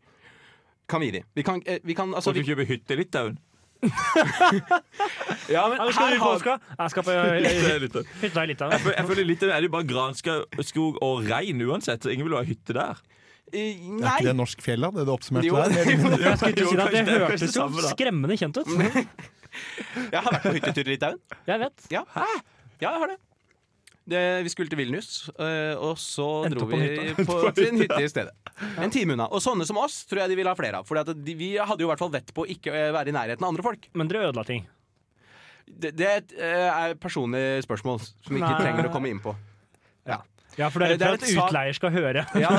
[SPEAKER 5] Kan vi gi dem. Vi kan, eh, vi kan altså,
[SPEAKER 6] Så
[SPEAKER 5] vi,
[SPEAKER 6] vi kjøper hytte i Litauen.
[SPEAKER 5] ja, men,
[SPEAKER 4] Ja, men skal
[SPEAKER 5] her
[SPEAKER 4] du på
[SPEAKER 5] har,
[SPEAKER 4] Oskar? Jeg skal på
[SPEAKER 6] Det er Litauen.
[SPEAKER 4] hytta i Litauen.
[SPEAKER 6] Jeg føl- jeg føler i Litauen er det jo bare granskog skog og rein uansett, så ingen vil jo ha hytte der.
[SPEAKER 5] eh,
[SPEAKER 7] Er ikke
[SPEAKER 5] nei.
[SPEAKER 7] det norsk fjell, da? Det du oppsummerte
[SPEAKER 5] Jo.
[SPEAKER 7] der?
[SPEAKER 4] Jeg skulle til å si det, at det
[SPEAKER 6] Jo, kanskje det er
[SPEAKER 4] hørtes jo
[SPEAKER 6] kanskje det
[SPEAKER 4] skremmende kjent ut.
[SPEAKER 5] Mm. Jeg har vært på hyttetur i Litauen.
[SPEAKER 4] Jeg vet.
[SPEAKER 5] Ja. Ja, jeg har det. det. Vi skulle til Vilnius, eh, og så
[SPEAKER 4] Endte
[SPEAKER 5] dro
[SPEAKER 4] på
[SPEAKER 5] vi
[SPEAKER 4] en hytte.
[SPEAKER 5] på, til en hytte i stedet. En time unna. Og sånne som oss tror jeg de vil ha flere av. For vi hadde jo i hvert fall vett på å ikke eh, være i nærheten av andre folk.
[SPEAKER 4] Men dere ødela ting.
[SPEAKER 5] Det, det eh, er personlige spørsmål som vi ikke
[SPEAKER 4] Nei.
[SPEAKER 5] trenger å komme inn på.
[SPEAKER 4] Ja, for det
[SPEAKER 5] Det
[SPEAKER 4] er
[SPEAKER 5] er
[SPEAKER 4] redd for at
[SPEAKER 5] et sa-
[SPEAKER 4] utleier skal høre.
[SPEAKER 5] Ja.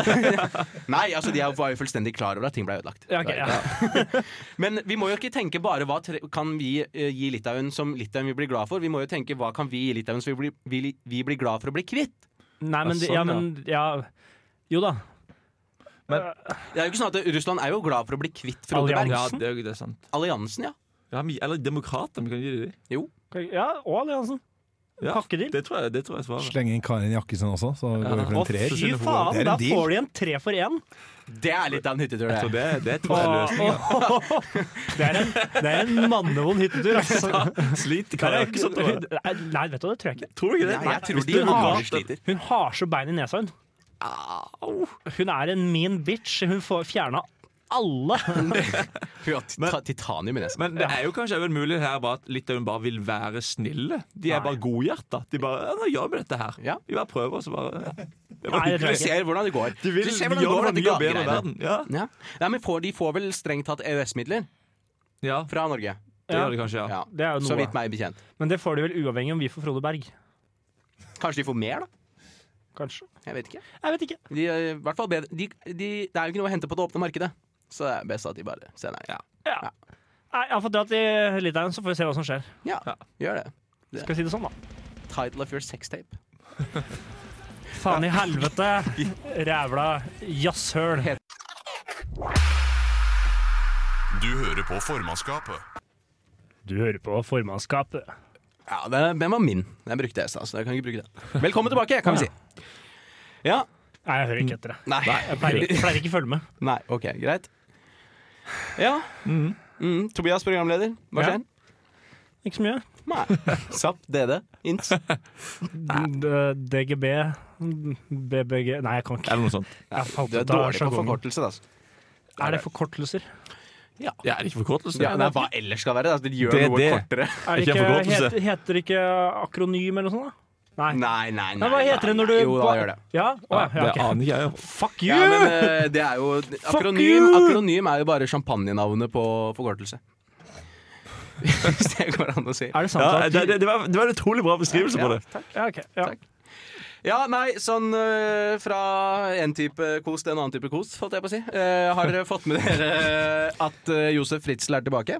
[SPEAKER 5] Nei, altså de er- var jo fullstendig klar over at ting ble ødelagt.
[SPEAKER 4] Ja, ok, ja.
[SPEAKER 5] Men vi må jo ikke tenke bare hva tre kan vi eh, gi Litauen som Litauen vil bli glad for. Vi må jo tenke hva kan vi gi Litauen som vi blir, vi, vi blir glad for å bli kvitt.
[SPEAKER 4] Nei, men,
[SPEAKER 6] Ja,
[SPEAKER 4] ja,
[SPEAKER 6] sånn,
[SPEAKER 4] men ja. Jo da.
[SPEAKER 5] Det er jo ikke sånn at Russland er jo glad for å bli kvitt Frode
[SPEAKER 4] Alliansen.
[SPEAKER 5] Berg.
[SPEAKER 6] Ja, det, er jo- det er sant.
[SPEAKER 5] Alliansen, ja.
[SPEAKER 6] Ja, men- eller demokrater, vi kan gi dem det.
[SPEAKER 4] Ja, og alliansen.
[SPEAKER 6] Ja.
[SPEAKER 4] Pakkedeal.
[SPEAKER 6] Det tror jeg, det tror jeg er svaret.
[SPEAKER 7] Slenge inn Karin Jakkesen sånn også, så går vi for
[SPEAKER 4] Å,
[SPEAKER 7] en treer.
[SPEAKER 4] fy
[SPEAKER 7] Det
[SPEAKER 4] faen,
[SPEAKER 7] er en
[SPEAKER 4] da
[SPEAKER 7] deal.
[SPEAKER 4] får de en tre for én.
[SPEAKER 5] Det er litt av en hyttetur, det.
[SPEAKER 6] Så det, det tror jeg er løsningen.
[SPEAKER 4] Det er en, det er en mannevond hyttetur, altså.
[SPEAKER 6] Sliter
[SPEAKER 4] Det
[SPEAKER 6] Kari
[SPEAKER 4] er ikke
[SPEAKER 6] Jakkesson
[SPEAKER 4] sånn-
[SPEAKER 6] over det?
[SPEAKER 4] Nei, vet du hva, det tror jeg ikke.
[SPEAKER 6] Tror du ikke det?
[SPEAKER 5] Nei, jeg tror
[SPEAKER 6] Hvis
[SPEAKER 5] de
[SPEAKER 6] du
[SPEAKER 5] har-
[SPEAKER 6] har-
[SPEAKER 5] sliter.
[SPEAKER 4] Hun har så bein i nesa, hun. Hun er en mean bitch. Hun får fjerna alle.
[SPEAKER 5] Hun har tit- ta- titanium i nesen.
[SPEAKER 6] Men det er jo kanskje en mulighet her bare at Litauen bare vil være snille. De er
[SPEAKER 4] Nei.
[SPEAKER 6] bare godhjerta. De bare ja, 'Nå gjør vi dette her.'
[SPEAKER 5] Ja.
[SPEAKER 6] Vi bare prøver, og så bare ja. Det var
[SPEAKER 4] Nei, det tror
[SPEAKER 6] hyggelig.
[SPEAKER 5] Du
[SPEAKER 4] jeg ikke.
[SPEAKER 5] ser hvordan det går.
[SPEAKER 6] De vil
[SPEAKER 5] du ser
[SPEAKER 6] de
[SPEAKER 5] hvordan det
[SPEAKER 6] gjør
[SPEAKER 5] går med
[SPEAKER 6] det mye
[SPEAKER 5] dette
[SPEAKER 6] bedre
[SPEAKER 5] gavegreiene.
[SPEAKER 6] verden. Ja.
[SPEAKER 5] Ja. Nei, men får, de får vel strengt tatt EØS-midler
[SPEAKER 6] ja,
[SPEAKER 5] fra Norge.
[SPEAKER 6] det gjør det kanskje, ja.
[SPEAKER 5] Ja.
[SPEAKER 4] Det er jo
[SPEAKER 5] Så vidt
[SPEAKER 4] noe.
[SPEAKER 5] meg bekjent.
[SPEAKER 4] Men det får de vel uavhengig om vi får Frode Berg.
[SPEAKER 5] Kanskje de får mer, da?
[SPEAKER 4] Kanskje.
[SPEAKER 5] Jeg vet ikke.
[SPEAKER 4] Jeg vet ikke.
[SPEAKER 5] De, er i hvert fall bedre. De, de, det er jo ikke noe å hente på det åpne markedet. Så det er best at de bare sender det.
[SPEAKER 4] Ja. Nei, Jeg får dra til Litauen, så får vi se hva som skjer.
[SPEAKER 5] Ja, gjør det.
[SPEAKER 4] Skal vi si det sånn, da?
[SPEAKER 5] Title of your sex tape.
[SPEAKER 4] Faen i helvete, rævla jazzhøl.
[SPEAKER 1] Du hører på formannskapet.
[SPEAKER 4] Du hører på formannskapet.
[SPEAKER 5] Ja, den, den var min. Den brukte jeg i stad, så jeg kan ikke bruke den. Velkommen tilbake, kan vi si. Ja.
[SPEAKER 4] Nei, jeg hører ikke etter det.
[SPEAKER 5] Nei.
[SPEAKER 4] Jeg pleier, ikke- pleier ikke å følge med.
[SPEAKER 5] Nei, OK, greit. Ja. Mm, Tobias, programleder. Hva
[SPEAKER 4] Ja.
[SPEAKER 5] skjer?
[SPEAKER 4] Ikke så mye.
[SPEAKER 5] Nei. Zapp, DD, Ints.
[SPEAKER 4] D- DGB, BBG Nei, jeg kan ikke.
[SPEAKER 6] Eller noe sånt.
[SPEAKER 4] Jeg falt
[SPEAKER 5] Du er
[SPEAKER 4] ut av
[SPEAKER 5] dårlig på
[SPEAKER 4] sjargongen.
[SPEAKER 5] forkortelser, altså.
[SPEAKER 4] Er det forkortelser?
[SPEAKER 6] Ja, er det ikke forkortelse?
[SPEAKER 5] Ja, nei, hva ellers skal være det? Altså, de gjør
[SPEAKER 6] Det er
[SPEAKER 5] noe
[SPEAKER 6] det.
[SPEAKER 5] kortere.
[SPEAKER 4] Er det
[SPEAKER 6] Ikke en
[SPEAKER 4] ikke,
[SPEAKER 6] forkortelse.
[SPEAKER 4] heter, heter det ikke akronym eller noe sånt? da? Nei.
[SPEAKER 5] Nei, nei, nei.
[SPEAKER 4] Men hva heter det når du
[SPEAKER 5] nei. Jo, da
[SPEAKER 4] ba-
[SPEAKER 5] gjør det.
[SPEAKER 4] Ja? Å, ja, ja,
[SPEAKER 6] Det
[SPEAKER 4] ok.
[SPEAKER 6] aner ikke jeg.
[SPEAKER 4] Fuck you!
[SPEAKER 5] Ja, men eh, det er jo akronym,
[SPEAKER 4] you!
[SPEAKER 5] akronym er jo bare champagnenavnet på forkortelse. Hvis det går an å si.
[SPEAKER 4] er det sant
[SPEAKER 6] Ja,
[SPEAKER 4] at
[SPEAKER 6] det, det, det, var, det var en utrolig bra beskrivelse på det.
[SPEAKER 4] Ja, ok. Ja.
[SPEAKER 5] Takk. Ja, nei, sånn eh, fra en type kos til en annen type kos, holdt jeg på å si. Eh, har dere fått med dere at eh, Josef Fritzl er tilbake?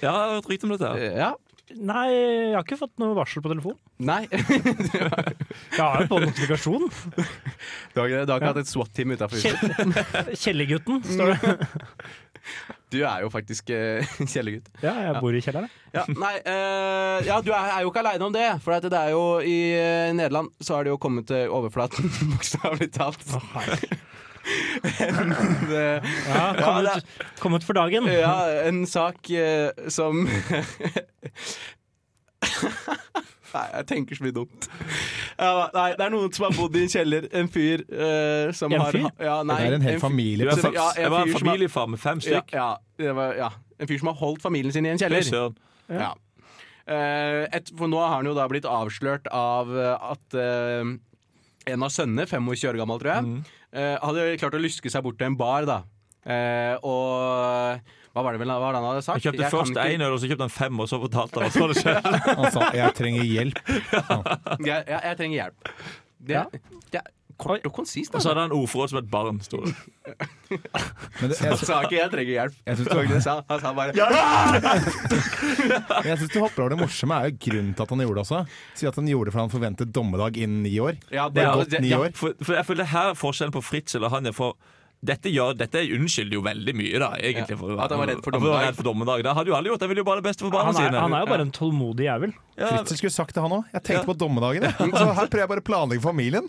[SPEAKER 6] Ja, jeg har hørt rykte om dette. her
[SPEAKER 5] Eh, ja.
[SPEAKER 4] Nei, jeg har ikke fått noe varsel på telefon.
[SPEAKER 5] Nei.
[SPEAKER 4] Jeg har jo på notifikasjon.
[SPEAKER 5] Du har, ikke- du har ikke hatt et SWAT-team utafor huset?
[SPEAKER 4] Kjellergutten, står det.
[SPEAKER 5] Du er jo faktisk eh, kjellergutt.
[SPEAKER 4] Ja, jeg bor i kjelleren.
[SPEAKER 5] Ja, nei, eh, ja, du er, er jo ikke aleine om det. For at det er jo i eh, Nederland så har det jo kommet til overflaten, bokstavelig talt. en, eh,
[SPEAKER 4] Ja,
[SPEAKER 5] Ja,
[SPEAKER 4] kommet, kommet for dagen.
[SPEAKER 5] ja, en sak eh, som Nei, jeg tenker så mye dumt. Ja, nei, det er noen som har bodd i en kjeller. En fyr eh, som
[SPEAKER 4] En
[SPEAKER 5] har
[SPEAKER 4] fyr?
[SPEAKER 5] Ja, nei,
[SPEAKER 7] Det er en hel
[SPEAKER 5] fyr-
[SPEAKER 7] familie. altså.
[SPEAKER 5] Du er fa- ja,
[SPEAKER 6] Jeg var en
[SPEAKER 5] fyr som har-
[SPEAKER 6] familiefar med fem
[SPEAKER 5] Ja,
[SPEAKER 6] stykk.
[SPEAKER 5] ja, det var, ja. En fyr som har holdt familien sin i en
[SPEAKER 6] Fy
[SPEAKER 5] kjeller.
[SPEAKER 6] søren.
[SPEAKER 5] Ja. Eh, et, for nå har han jo da blitt avslørt av eh, at eh, en av sønnene, 25 år gammel tror jeg, eh, hadde klart å lyske seg bort til en bar, da. Eh, og hva var det vel hva var det han hadde sagt?
[SPEAKER 6] Han kjøpte
[SPEAKER 5] Jeg kan
[SPEAKER 6] først
[SPEAKER 5] ikke-
[SPEAKER 6] én øl, og så kjøpte han fem, og så fortalte han hva det skjedde.
[SPEAKER 7] Han sa 'jeg trenger hjelp'.
[SPEAKER 5] Jeg, jeg, jeg trenger hjelp. Det, det, kort og konsist.
[SPEAKER 6] Og så
[SPEAKER 5] Altså.
[SPEAKER 6] hadde han ordforråd som et barn. Stod det.
[SPEAKER 7] Men det, jeg,
[SPEAKER 5] Han sa ikke 'jeg trenger hjelp'.
[SPEAKER 7] jeg syns
[SPEAKER 5] Det var ikke det
[SPEAKER 7] du,
[SPEAKER 5] han sa. Han sa bare
[SPEAKER 7] jeg synes du hopper over det morsomme, er jo grunnen til at han gjorde det også. Si at han gjorde det fordi han forventet dommedag innen ni år.
[SPEAKER 5] ja,
[SPEAKER 7] Det
[SPEAKER 5] ja,
[SPEAKER 7] har gått ni
[SPEAKER 5] ja,
[SPEAKER 7] år.
[SPEAKER 6] For, for jeg føler her er forskjellen på Fritzel og han er for dette, gjør, dette unnskylder jo veldig mye, da.
[SPEAKER 5] Ja,
[SPEAKER 6] egentlig for, å være-
[SPEAKER 5] at han var redd for
[SPEAKER 6] At han var
[SPEAKER 5] dommedag.
[SPEAKER 6] redd for dommedag. Det hadde jo alle gjort. De ville jo bare det beste for barna
[SPEAKER 4] Han er,
[SPEAKER 6] sine.
[SPEAKER 4] han er jo bare en tålmodig jævel.
[SPEAKER 6] ja,
[SPEAKER 7] Fritzel skulle sagt det, han òg. Jeg tenkte på dommedagen. jeg. Altså, her prøver jeg bare å planlegge familien.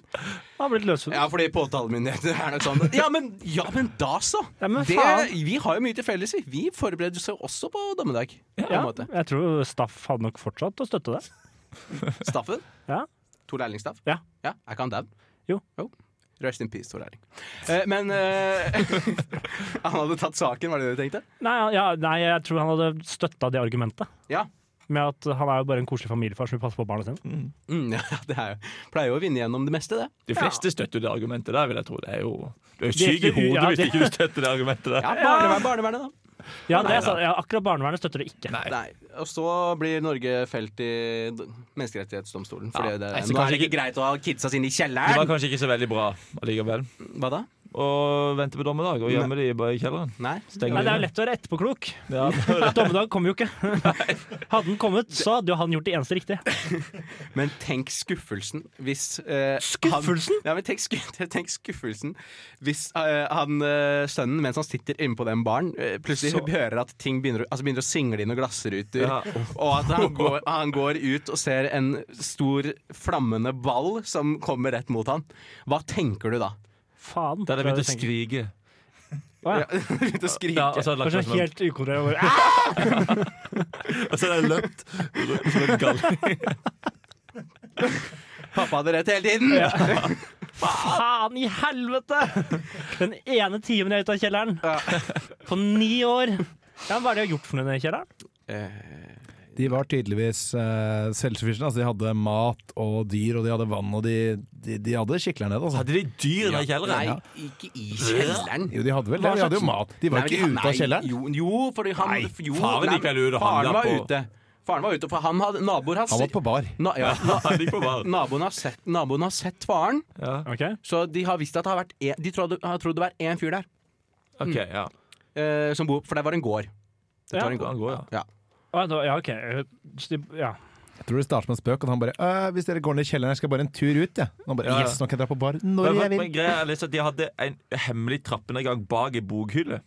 [SPEAKER 4] Han har blitt løsfunnet.
[SPEAKER 5] Ja, fordi påtalemyndigheten er nok sånn Ja, men, ja, men da så!
[SPEAKER 4] Ja, men
[SPEAKER 5] det,
[SPEAKER 4] faen.
[SPEAKER 5] vi har jo mye til felles. vi. Vi forbereder oss jo også på dommedag. På en
[SPEAKER 4] Ja,
[SPEAKER 5] måte.
[SPEAKER 4] jeg tror Staff hadde nok fortsatt å støtte det.
[SPEAKER 5] Staffen.
[SPEAKER 4] Ja.
[SPEAKER 5] Tor Lærlingstaff.
[SPEAKER 4] Ja.
[SPEAKER 5] ja. Er ikke han dau?
[SPEAKER 4] Jo.
[SPEAKER 5] Rest in peace, Tor Lærling. Eh, men eh, Han hadde tatt saken, var det det du tenkte?
[SPEAKER 4] Nei, ja, nei, jeg tror han hadde støtta det argumentet.
[SPEAKER 5] Ja.
[SPEAKER 4] Med at han er jo bare en koselig familiefar som vil passe på barna sine.
[SPEAKER 5] Mm, ja det er jo, pleier jo å vinne gjennom det meste, det.
[SPEAKER 6] De fleste støtter jo det argumentet der, vil jeg tro. Det er jo, du
[SPEAKER 4] Det
[SPEAKER 6] er jo
[SPEAKER 4] er
[SPEAKER 6] syk i
[SPEAKER 4] ikke-
[SPEAKER 6] hodet
[SPEAKER 4] ja,
[SPEAKER 6] hvis
[SPEAKER 4] det-
[SPEAKER 6] ikke du støtter det argumentet der.
[SPEAKER 5] Ja, barnevern, Barnevernet, da.
[SPEAKER 4] Ja, det er sant. ja, akkurat barnevernet støtter det ikke.
[SPEAKER 6] Nei.
[SPEAKER 5] Nei, Og så blir Norge felt i d- Menneskerettighetsdomstolen. Fordi
[SPEAKER 6] Ja,
[SPEAKER 5] det,
[SPEAKER 6] jeg
[SPEAKER 5] er
[SPEAKER 6] synes
[SPEAKER 5] nå er det
[SPEAKER 6] kanskje
[SPEAKER 5] ikke greit å ha kidsa sine i
[SPEAKER 6] Det var
[SPEAKER 5] kjelleren.
[SPEAKER 6] kanskje ikke så veldig bra allikevel
[SPEAKER 5] Hva da?
[SPEAKER 6] å vente på dommedag og gjemme de bare i kjelleren.
[SPEAKER 5] Nei?
[SPEAKER 6] Stenge
[SPEAKER 4] Nei, Det er jo
[SPEAKER 6] de inne.
[SPEAKER 4] lett å være etterpåklok.
[SPEAKER 6] Ja,
[SPEAKER 4] Dommedag kom jo ikke. Hadde den kommet, så hadde jo han gjort det eneste riktige.
[SPEAKER 5] Men tenk skuffelsen hvis eh,
[SPEAKER 4] Skuffelsen?
[SPEAKER 5] Han, ja, men tenk, sku, tenk skuffelsen hvis eh, han, eh, sønnen, mens han sitter inne på den baren, eh, plutselig
[SPEAKER 6] Så-
[SPEAKER 5] hører at ting begynner, å- altså begynner å single inn noen glassruter,
[SPEAKER 6] Ja.
[SPEAKER 5] og at han går, han går ut og ser en stor flammende ball som kommer rett mot han. Hva tenker du da?
[SPEAKER 4] Faen.
[SPEAKER 6] Da hadde jeg begynt å
[SPEAKER 4] tror jeg
[SPEAKER 6] skrike.
[SPEAKER 4] Ja.
[SPEAKER 5] Ja, Begynte å skrike.
[SPEAKER 6] Ja, og så hadde jeg
[SPEAKER 4] tenker.
[SPEAKER 6] lagt meg
[SPEAKER 4] Kanskje
[SPEAKER 6] som en-
[SPEAKER 4] helt ukontrollert. Ah!
[SPEAKER 6] og så hadde jeg løpt som en galning.
[SPEAKER 5] Pappa hadde rett hele tiden!
[SPEAKER 4] Faen i helvete! Den ene timen jeg er ute av kjelleren. På ni år. Ja, Hva er det jeg har gjort for noe i den kjelleren?
[SPEAKER 5] Eh,
[SPEAKER 7] De var tydeligvis eh, selvsufficiente. Altså, de hadde mat og dyr, og de hadde vann, og de, de, de hadde skikkelig ned. Altså.
[SPEAKER 6] Hadde de dyr i
[SPEAKER 5] nei,
[SPEAKER 6] kjelleren?
[SPEAKER 5] ikke i kjelleren.
[SPEAKER 7] Jo, de hadde vel det. De hadde jo mat. De var
[SPEAKER 5] Nei,
[SPEAKER 7] ikke
[SPEAKER 5] men de-
[SPEAKER 7] ute av
[SPEAKER 5] nei,
[SPEAKER 7] kjelleren.
[SPEAKER 5] Jo, jo fordi han
[SPEAKER 6] Nei,
[SPEAKER 5] jo,
[SPEAKER 6] faren gikk vel ut og
[SPEAKER 5] Faren
[SPEAKER 6] handla
[SPEAKER 5] var
[SPEAKER 6] på-
[SPEAKER 5] ute. Faren var ute, for han hadde naboer har
[SPEAKER 7] Han
[SPEAKER 5] se-
[SPEAKER 7] var på bar.
[SPEAKER 5] Na, ja,
[SPEAKER 6] Ja, de gikk på bar.
[SPEAKER 5] naboen, har sett, naboen har sett faren,
[SPEAKER 6] Ja.
[SPEAKER 4] Ok.
[SPEAKER 5] så de har visst at det har vært en, De trodde, har trodd det var én fyr der,
[SPEAKER 6] Ok, ja.
[SPEAKER 5] eh, som bor, for det var en gård. Det
[SPEAKER 4] Ja.
[SPEAKER 5] var en gård.
[SPEAKER 6] Han går, ja.
[SPEAKER 4] Å, da- Ja, OK. Så de- Ja.
[SPEAKER 7] Jeg tror det starter med en spøk, og han bare «Øh, 'Hvis dere går ned i kjelleren, jeg skal bare en tur ut', jeg. Ja. Han bare
[SPEAKER 6] Ja, ja.
[SPEAKER 7] 'Yes, nå kan jeg dra på bar når jeg
[SPEAKER 6] Men,
[SPEAKER 7] vil'.
[SPEAKER 6] men greia er liksom at De hadde en hemmelig trappenedgang bak ei bokhylle.